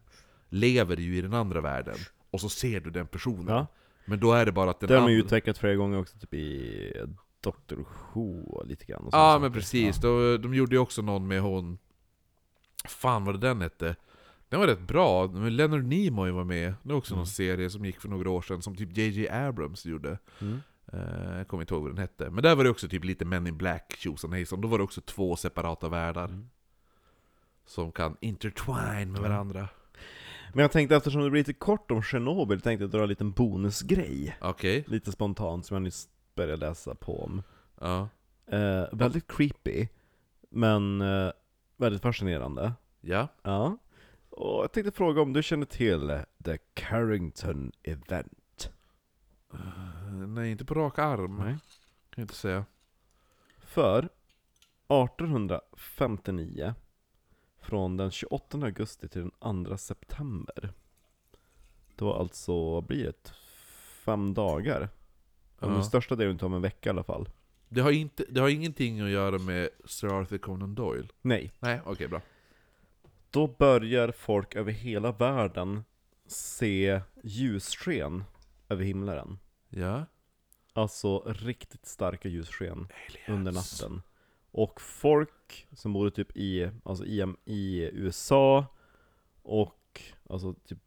lever ju i den andra världen. Och så ser du den personen.
Ja.
Men då är det bara att den
Det har man
andra...
ju utvecklat flera gånger också, typ i Doctor Who och lite grann. Och
Ja
sånt.
men precis, De, de gjorde ju också någon med hon... Fan vad det den hette? Den var rätt bra, men Leonard Nimoy var med. Det var också någon serie som gick för några år sedan som typ JJ Abrams gjorde.
Mm.
Eh, Jag kommer inte ihåg vad den hette. Men där var det också typ lite Men in Black tjosan hejsan. Då var det också två separata världar. Som kan intertwine med varandra.
Men jag tänkte eftersom det blir lite kort om Tjernobyl, tänkte jag dra en liten bonusgrej.
Okej,
Lite spontant som jag nyss började läsa på om.
ja.
Eh, väldigt creepy, men eh, väldigt fascinerande.
Ja.
Ja. Och jag tänkte fråga om du känner till The Carrington Event?
Eh, Nej, inte på rak arm.
Nej.
Kan jag inte säga.
För 1859, från den 28 augusti till den 2 september. Det var alltså, vad blir det? Fem dagar. Om
Ja.
Den största delen tar om en vecka i alla fall.
Det har, inte, det har ingenting att göra med Sir Arthur Conan Doyle.
Nej,
Nej, okej bra.
Då börjar folk över hela världen se ljussken över himlen.
Ja.
Alltså riktigt starka ljussken under natten. Och folk som bodde typ i, alltså i, i USA och alltså typ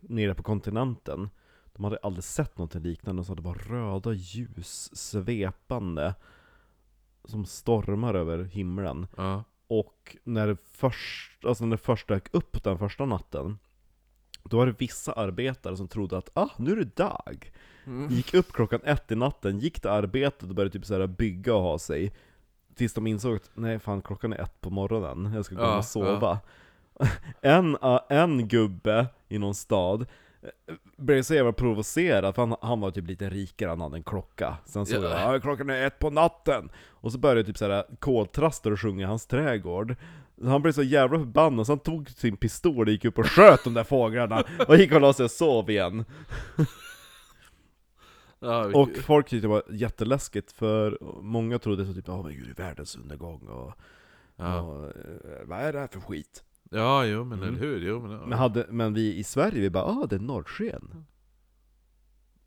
nere på kontinenten, de hade aldrig sett något liknande, så det var röda ljus svepande som stormar över himlen.
Ja.
Och när det först, alltså när det först dök upp den första natten Då var det vissa arbetare som trodde att ah, nu är det dag!
Mm.
Gick upp klockan ett i natten, gick till arbetet och började typ så här bygga och ha sig Tills de insåg att nej fan klockan är ett på morgonen, jag ska gå
Ja,
hem och sova en, ah, en gubbe i någon stad eh, blev så jävla provocerad, för han, han var typ lite rikare, han hade en klocka. Sen såg
Ja.
jag ja. klockan är ett på natten! Och så började typ såhär koltraster och sjunga i hans trädgård. Så Han blev så jävla förbannad så han tog sin pistol och gick upp och sköt de där fåglarna, och gick och la sig och sov igen.
ja vi-
Och folk tyckte det var jätteläskigt, för många trodde så typ ja men gud det är världens undergång och,
ja.
och eh, vad är det här för skit?'
ja, jo men
Mm.
eller hur? Jo, men, ja.
Men, hade, men vi i Sverige, vi bara 'Ah, det är norrsken'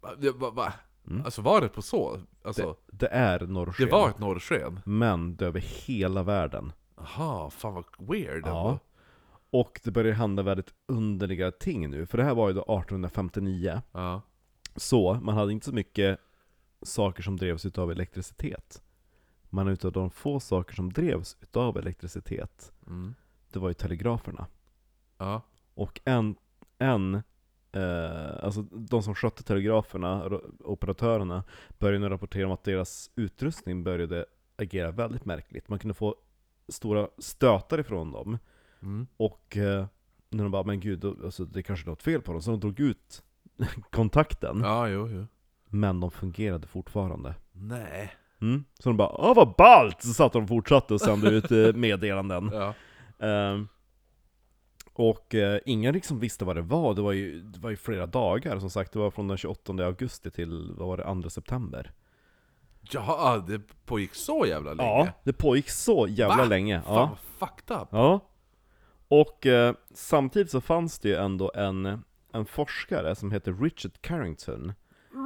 Va- det- va, va?
Mm.
Alltså var det på så? Alltså,
Det är
det,
norrsken.
var ett norrsken?
Men det är över hela världen.
Jaha, fan vad weird
Ja. Och det börjar hända väldigt underliga ting nu, för det här var ju då 1859.
ja.
Så man hade inte så mycket saker som drevs utav elektricitet. Men utav de få saker som drevs utav elektricitet,
Mm.
det var ju telegraferna.
ja.
Och en, en eh, alltså de som skötte telegraferna, ro- operatörerna, började nu rapportera om att deras utrustning började agera väldigt märkligt. Man kunde få stora stötar ifrån dem,
Mm.
och eh, när de bara 'Men gud, då- alltså, det är kanske är något fel på dem' så de drog ut kontakten,
Ja, jo, jo.
men de fungerade fortfarande.
Nej.
Mm. Så de bara 'Åh vad Mm. ballt!' Så satt de och fortsatte och sände ut eh, meddelanden.
Ja.
Ehm, Och eh, ingen liksom visste vad det var, det var, ju, det var ju flera dagar som sagt, det var från den 28 augusti till, vad var det, 2 september?
Ja, det pågick så jävla länge?
Ja, det pågick så jävla
Va?
länge.
Fan
Ja.
vad fucked up!
Ja. Och eh, samtidigt så fanns det ju ändå en, en forskare som heter Richard Carrington.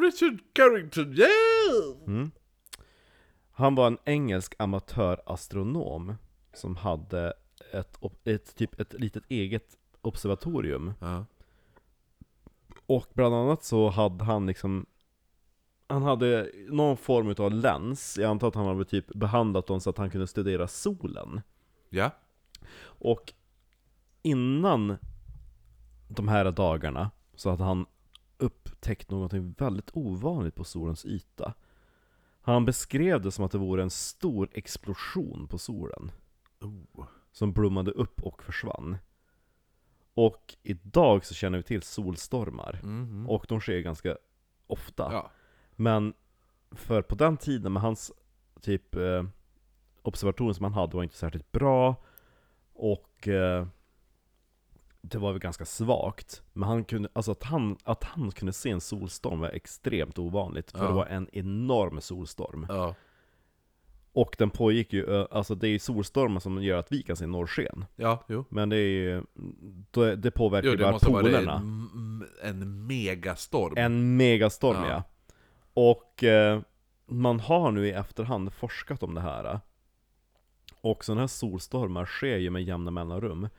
Richard Carrington, yeah!
Han var en engelsk amatörastronom som hade ett, op- ett, typ ett litet eget observatorium.
Ja.
Och bland annat så hade han liksom han hade någon form av lens, jag antar att han hade typ behandlat dem så att han kunde studera solen.
ja.
Och innan de här dagarna så hade han upptäckt någonting väldigt ovanligt på solens yta. Han beskrev det som att det vore en stor explosion på solen
Oh.
som blommade upp och försvann. Och idag så känner vi till solstormar,
Mhm.
och de sker ganska ofta.
Ja.
Men för på den tiden med hans typ eh, observatorium som han hade var inte särskilt bra och eh, det var väl ganska svagt. Men han kunde, alltså att han, att han kunde se en solstorm var extremt ovanligt för
Ja.
det var en enorm solstorm.
ja.
Och den pågick ju, eh, alltså det är ju solstormar som gör att vi kan se norrsken.
Ja, jo.
Men det är ju, det, det påverkar
Jo,
ju
det
bara
måste ha varit
polerna.
en, en megastorm.
En megastorm ja.
Ja.
Och eh, man har nu i efterhand forskat om det här. Och sådana här solstormar sker ju med jämna mellanrum.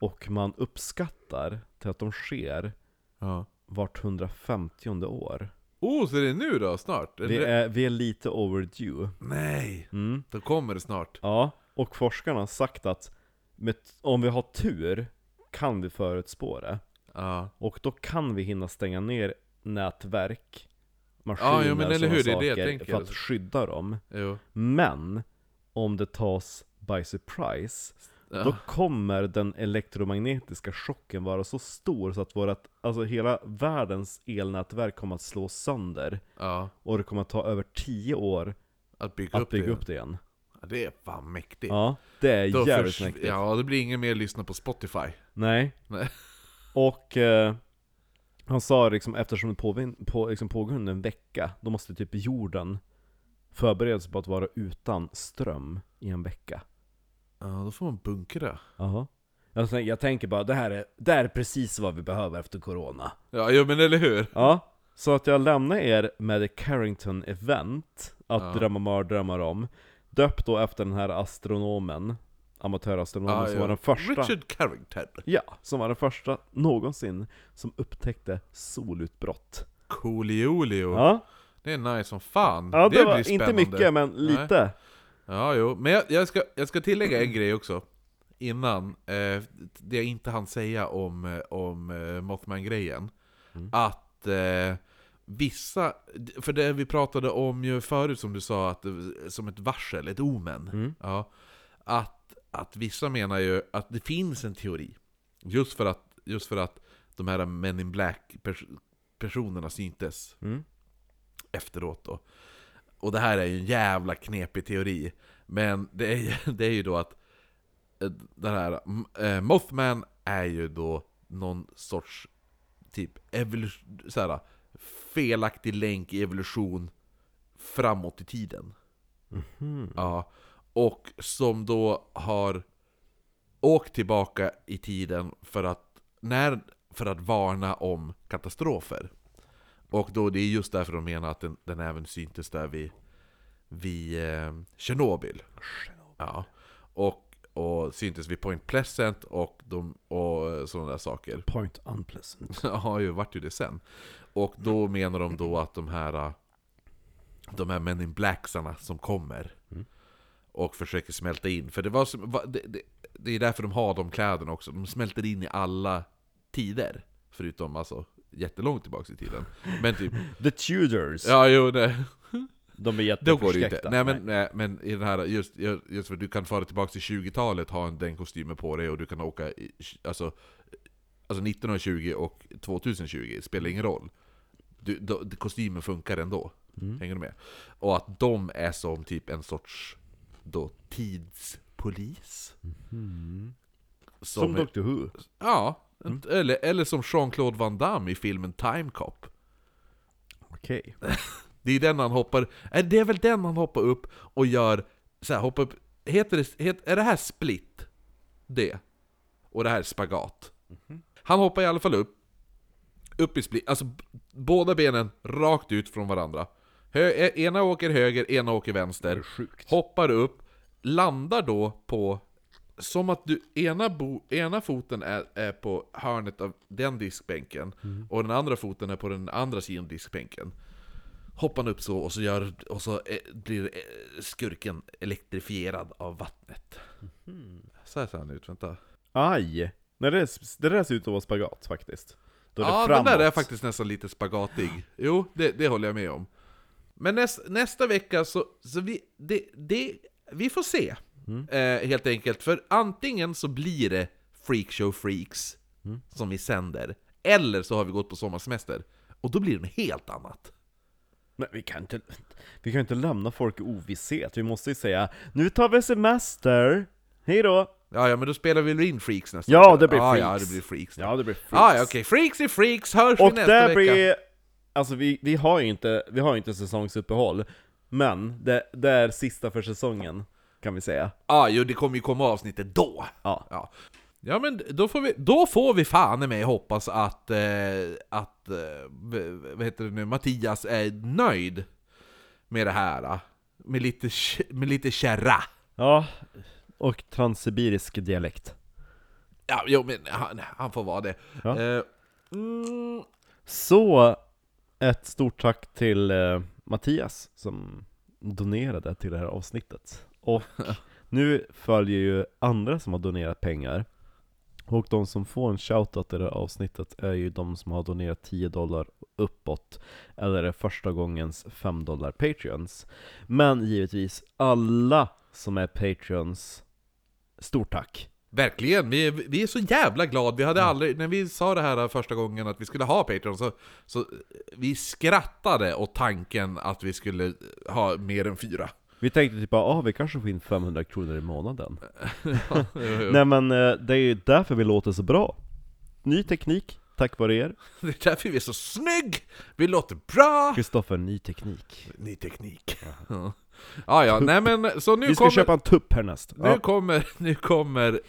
Och man uppskattar till att de sker
Ja.
vart 150 år.
Oh, så det är nu då, snart?
Det är, vi är lite overdue.
Nej!
Mm.
Då kommer det snart.
Ja, och forskarna har sagt att med, om vi har tur kan vi förutspå det.
Ja.
Och då kan vi hinna stänga ner nätverk, maskiner
Ja, jo, men
och
eller hur, det
sådana
är det jag
saker
tänker.
för att skydda dem.
Jo.
Men om det tas by surprise,
Ja.
då kommer den elektromagnetiska chocken vara så stor så att vårat, alltså hela världens elnätverk kommer att slås sönder.
ja.
Och det kommer att ta över 10 år
Att bygga
att
upp det.
bygga
igen.
upp det igen.
Ja, det är fan mäktigt.
Ja, det är
Då
jävligt
försv-
mäktigt.
Ja, det blir ingen mer lyssna på Spotify.
Nej.
Nej.
Och eh, han sa liksom, eftersom det påvin- på, liksom pågår under en vecka, då måste typ jorden förbereda sig på att vara utan ström i en vecka.
Ja, då får man bunkra.
Jaha. Jag, tänk, jag tänker bara, det här, är, det här är precis vad vi behöver efter corona.
Ja, jo, men eller hur?
Ja, så att jag lämnar er med The Carrington Event, att
Ja.
drömma mardrömmar om. Döpt då efter den här astronomen, amatörastronomen,
Ja,
som
ja.
var den första
Richard Carrington.
Ja, som var den första någonsin som upptäckte solutbrott.
Coolio.
Ja,
Det är nice som fan.
ja det,
blir
var inte
spännande.
mycket men
Nej.
lite.
Ja, jo. Men jag, jag, ska, jag ska tillägga en grej också. Innan. Eh, det jag inte hann säga om, eh, om eh, Mothman-grejen. Att eh, vissa... För det vi pratade om ju förut som du sa, att, det- som ett varsel, ett omen. Ja, att, att vissa menar ju att det finns en teori. Just för att, just för att de här Men in Black-personerna syntes
Mm.
efteråt då. Och det här är ju en jävla knepig teori. Men det är, ju- det är ju då att eh, den här mm, eh, Mothman är ju då någon sorts typ evolution, så här, felaktig länk i evolution framåt i tiden. Ja, och som då har åkt tillbaka i tiden för att, när, för att varna om katastrofer. Och då det är just därför de menar att den, den även syntes där vid, vid eh, Tjernobyl. Ja. Och, och syntes vid Point Pleasant och, de, och eh, sådana där saker.
Point unpleasant.
Ja, ju vart ju det sen. Och då menar de då att de här äh, De här Men in Blacksarna som kommer Och försöker smälta in, för det var som- va- det, det, det är därför de har de kläderna också, de smälter in i alla tider Förutom alltså jättelångt tillbaks i tiden Men typ,
The Tudors,
ja jo nej
de är
då går det ju inte.
jätteförskräckta.
Nej men, nej, men i den här, just, just för att du kan fara tillbaka till 20-talet, ha en, den kostymen på dig och du kan åka i, alltså, alltså 1920 och 2020, det spelar ingen roll. Du, då, kostymen funkar ändå. Hänger du med? Och att de är som typ en sorts då, Mm. tidspolis. Som,
Som Doctor Who.
Ja, eller, eller som Jean-Claude Van Damme i filmen Time Cop.
Okej.
Det är den han hoppar, är det är väl den han hoppar upp och gör, så här, hoppar upp, heter det, het, är det här split? Det. Och det här är spagat. Han hoppar i alla fall upp, upp i split, alltså b- båda benen rakt ut från varandra. Hö, e- ena åker höger, ena åker vänster.
Sjukt.
Hoppar upp, landar då på... Som att du, ena, bo, ena foten är, är på hörnet av den diskbänken och den andra foten är på den andra sidan av diskbänken. Hoppar han upp så och så, gör, och så eh, blir eh, skurken elektrifierad av vattnet. Mhm. Så här ser han ut, vänta.
Aj! Nej, det, är- det där ser ut att vara spagat faktiskt. Då är det
Ja,
framåt.
den där är faktiskt nästan lite spagatig. Jo, det, det håller jag med om. Men näst, nästa vecka så, så vi, det, det, vi får se. Eh, helt enkelt, för antingen så blir det Freakshow Freaks som vi sänder, eller så har vi gått på sommarsemester. Och då blir det något helt annat.
Men vi kan inte, vi kan inte lämna folk i ovisshet. Vi måste ju säga Nu tar vi semester! Hej då!
Ja, ja, men då spelar vi väl in Freaks nästa
Ja,
vecka.
det blir
ja,
Freaks.
Ja, det blir Freaks.
Ja, det blir
Ah, ja, okej. Freaks är Freaks, hörs
Och
vi nästa
där
vecka.
blir... Alltså vi, vi har ju inte, vi har ju inte säsongsuppehåll. Men det, det är sista för säsongen, kan vi säga.
Ja, Ah, jo, det kommer ju komma avsnittet då.
Ja.
Ja, ja men då får vi, då får vi fan i mig hoppas att, eh, att eh, v- vad heter det nu, Mattias är nöjd med det här. eh. Med lite, kä- med lite kärra.
Ja, och transsibirisk dialekt.
Ja, jo, men han, han får vara det.
Ja.
Eh, mm,
Så, ett stort tack till eh, Mattias som donerade till det här avsnittet. Och nu följer ju andra som har donerat pengar. Och de som får en shoutout i det här avsnittet är ju de som har donerat 10 dollar uppåt, eller är första gångens 5 dollar patreons. Men givetvis alla som är patreons, stort tack!
Verkligen, vi, vi är så jävla glada. Vi hade aldrig, när vi sa det här första gången att vi skulle ha Patreon så, så vi skrattade åt tanken att vi skulle ha mer än fyra.
Vi tänkte typ ah, vi kanske får in 500 kronor i månaden. Nej men eh, det är ju därför vi låter så bra. Ny teknik, tack vare er.
Det är därför vi är så snygg! Vi låter bra!
Kristoffer, ny teknik.
Ny teknik. Ja, ja, ja nej men så nu
vi ska
kommer...
köpa en tupp härnäst.
Nu
Ja.
kommer, nu kommer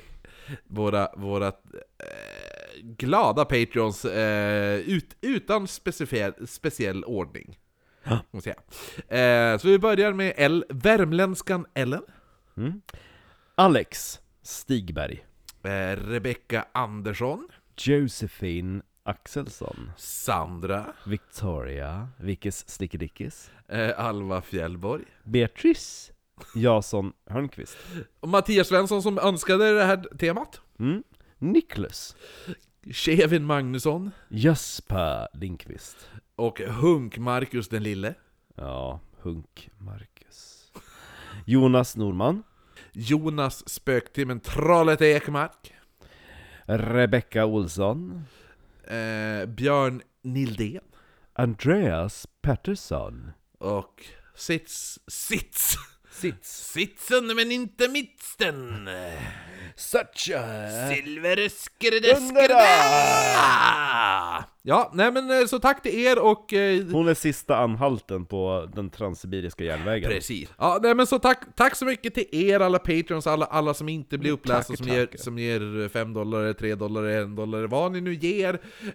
våra, våra eh, glada Patreons eh, ut, utan specifie, speciell ordning. Måste jag. säga. Eh, så vi börjar med L, värmländskan Ellen,
Alex Stigberg.
eh, Rebecka Andersson,
Josefin Axelsson.
Sandra,
Victoria. Vickis Slickedickis.
eh, Alva Fjällborg,
Beatrice. Jason Hörnqvist.
och Mattias Svensson som önskade det här temat,
Mm. Niklas.
Kevin Magnusson,
Jesper Lindqvist.
och Hunk Marcus den lille,
Ja, Hunk Marcus. Jonas Norman.
Jonas Spöktimmen Trollet Ekmark,
Rebecca Olsson.
eh, Björn Nildén
Andreas Pettersson.
och Sits... Sits!
Sits.
Sitsen men inte mitsen!
Such a...
Silvereskeredeskereda! Ja, nej men eh, så tack till er och... Eh,
Hon är sista anhalten på den transsibiriska järnvägen.
Precis. Ja, nej, men så tack, tack så mycket till er alla patreons, alla, alla som inte blir upplästa,
tack,
som,
tack.
ger, som ger 5 dollar, 3 dollar, 1 dollar, vad ni nu ger.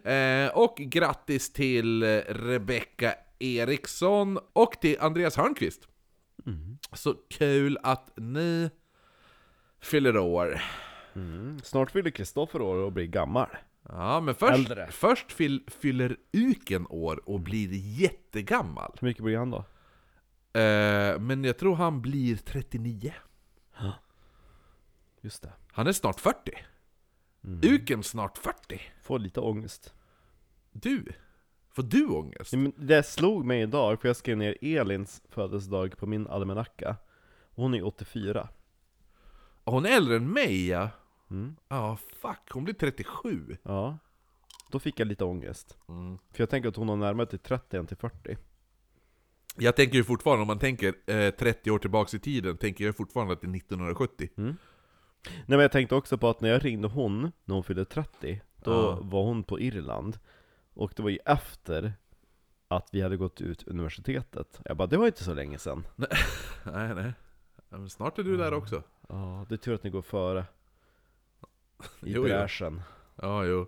Eh, och grattis till eh, Rebecca Eriksson och till Andreas Hörnqvist.
Mm.
Så kul att ni fyller år.
Mm, Snart fyller Kristoffer år och blir gammal.
Ja, men först,
Äldre.
först fyll, fyller Uken år och blir jättegammal.
Hur mycket blir han då?
Eh, men jag tror han blir 39.
Just det.
Han är snart 40. Uken snart 40.
Får lite ångest.
Du? Får du ångest?
Nej, men Det slog mig idag, för jag skrev ner Elins födelsedag på min almanacka. Hon är 84.
Hon är äldre än mig ja. Ja, fuck. Hon blir 37.
Ja. Då fick jag lite ångest.
Mm.
För jag tänker att hon har närmare till 30 än till 40.
Jag tänker ju fortfarande, om man tänker eh, 30 år tillbaks i tiden, tänker jag fortfarande att det är 1970.
Nej men jag tänkte också på att när jag ringde hon, när hon fyllde 30, då
Ja.
var hon på Irland. Och det var ju efter att vi hade gått ut universitetet. Jag bara, det var inte så länge sedan.
Nej, nej. Ja, Men snart är du där också.
Ja, det är tur att ni går före. I
Jo, jo.
bräschen.
Ja, jo.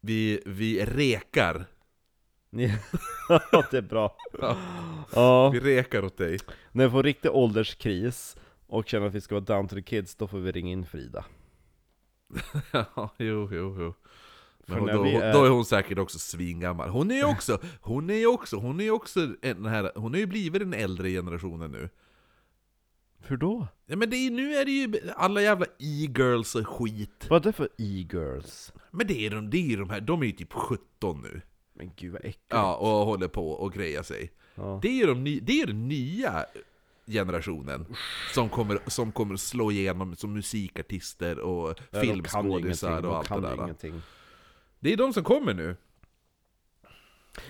Vi, vi rekar.
Ni- Ja, det är bra. Ja,
Vi rekar åt dig.
när vi får riktig ålderskris och känner att vi ska vara down to the kids, då får vi ringa in Frida.
Ja, jo, jo, jo. Men
För när
då,
vi är-
då är hon säkert också svingammal. Hon är ju också, hon är ju också, hon är ju också en- den här, hon är ju blivit den äldre generationen nu.
Hur då?
Ja, men det är, nu är det ju alla jävla e-girls och skit.
Vad är det för e-girls?
Men det är, de, det är ju de här, de är ju typ 17 nu.
Men gud vad äckligt.
Ja, och håller på och grejar sig.
Ja.
Det är ju de ny, det är den nya generationen som kommer, som kommer slå igenom som musikartister och
Ja, de kan ju
filmskådisar
ingenting, de
och allt det
kan ju
där.
ingenting.
Det är de som kommer nu.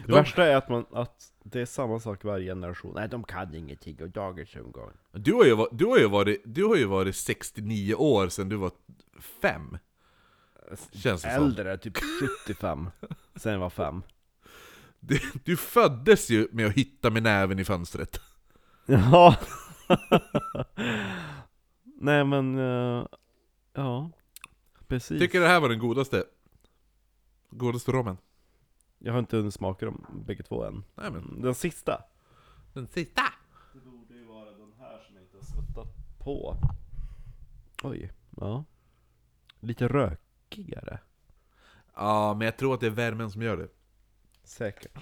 Det värsta är att, man, att det är samma sak varje generation. Nej, de kan ingenting och dagens umgång.
Du har ju, va- du har ju, varit, du har ju varit 69 år sedan du var fem. Känns det som.
Äldre, typ 75. Sen jag var fem.
Du, du föddes ju med att hitta med näven i fönstret.
Ja. Nej men, eh, ja. Precis.
Tycker det här var den godaste. Godaste rommen.
Jag har inte hunnit smaka dem bägge två än.
Nej men,
Den sista.
den sista!
Det borde ju vara den här som jag inte har svettat på. Oj, ja. Lite rökigare.
Ja, men jag tror att det är värmen som gör det.
Säkert.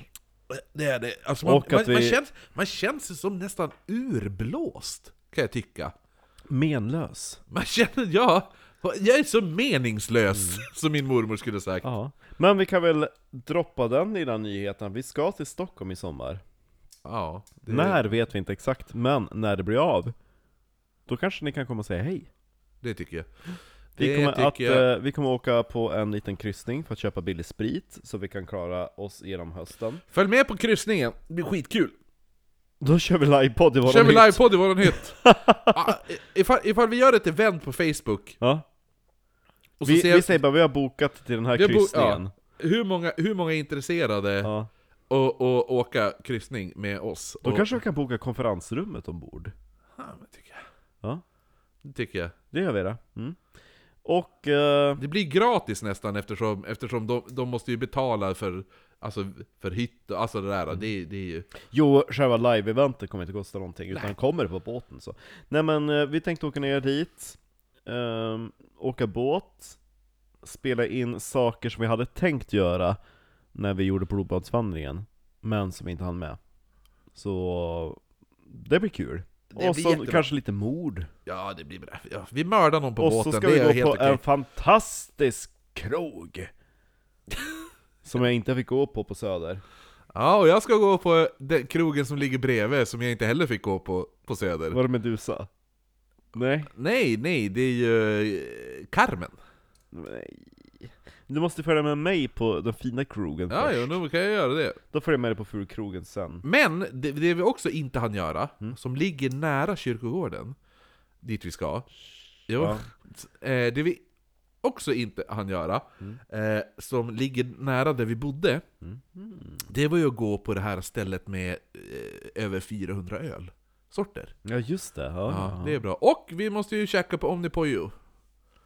Det är det. Alltså man,
Och
man,
att
man,
vi-
känns, man känns som nästan urblåst, kan jag tycka.
Menlös.
Man känner, ja, jag är så meningslös, som min mormor skulle sagt.
Mm. Ja. Men vi kan väl droppa den i den nyheten. Vi ska till Stockholm i sommar.
Ja, det,
När vet vi inte exakt, men när det blir av. Då kanske ni kan komma och säga hej.
det tycker jag.
Vi
Det
kommer, att,
tycker jag.
eh, vi kommer åka på en liten kryssning för att köpa billig sprit, så vi kan klara oss genom hösten.
Följ med på kryssningen, det blir skitkul!
Då kör vi livepodd i våran
Kör vi
hytt.
livepodd i våran hytt! ah, ifall, ifall vi gör ett event på Facebook,
Ja.
och så
Vi,
ser
vi säger bara vi har bokat till den här
Vi har bo-
kryssningen.
hur, många, hur många är intresserade
Ja.
och, och åka kryssning med oss?
Då
och,
kanske vi kan boka konferensrummet ombord.
Ja, men tycker jag.
Ja,
Det tycker jag.
det gör vi det. Mm. Och... eh,
Det blir gratis nästan eftersom, eftersom de, de måste ju betala för, alltså, för hytt och alltså det där. Det, det är ju...
Jo, själva live-eventet kommer inte kosta någonting, utan kommer det på båten så. Nej men, eh, vi tänkte åka ner dit, ehm, åka båt, spela in saker som vi hade tänkt göra när vi gjorde blodbadsvandringen, men som vi inte hann med. Så det blir kul.
Det
och
blir
så
jättebra.
kanske lite mord.
Ja, det blir bra. Ja, vi mördar någon på
och
båten,
så ska
det är
vi
helt
gå på
okej.
en fantastisk krog! Som jag inte fick gå på på Söder.
Ja, och jag ska gå på den krogen som ligger bredvid, som jag inte heller fick gå på på Söder.
Var det Medusa? Nej?
Nej, nej, det är ju eh, Carmen.
Nej. Du måste följa med mig på den fina krogen
Ja, jo,
först.
nu kan jag göra det.
Då följer jag med dig på fulkrogen sen.
Men det, det vi också inte hann göra, som ligger nära kyrkogården, dit vi ska. Jo,
Ja.
eh, det vi också inte hann göra, eh, som ligger nära där vi bodde, det var ju att gå på det här stället med eh, över 400 ölsorter.
Ja just det, ja.
Ja, det är bra. Och vi måste ju käka på Omnipojo.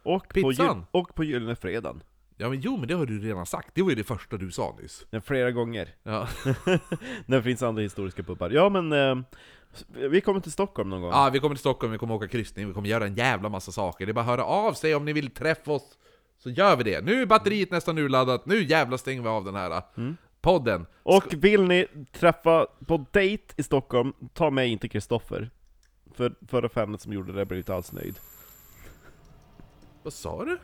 och, på
pizzan.
gyll- och på Gyllene Fredagen.
Ja, men jo, men det har du redan sagt. Det var ju det första du sa nyss.
Ja, flera gånger.
Ja,
När det finns andra historiska pubbar. Ja men, eh, vi kommer till Stockholm någon gång.
ja vi kommer till Stockholm, vi kommer åka kryssning, vi kommer göra en jävla massa saker. Det är bara att höra av sig om ni vill träffa oss. Så gör vi det. Nu är batteriet nästan urladdat, nu jävla stänger vi av den här äh, podden.
Och vill ni träffa på dejt i Stockholm, ta med inte Kristoffer. För förra femmet som gjorde det blev inte alls nöjd.
Vad sa du?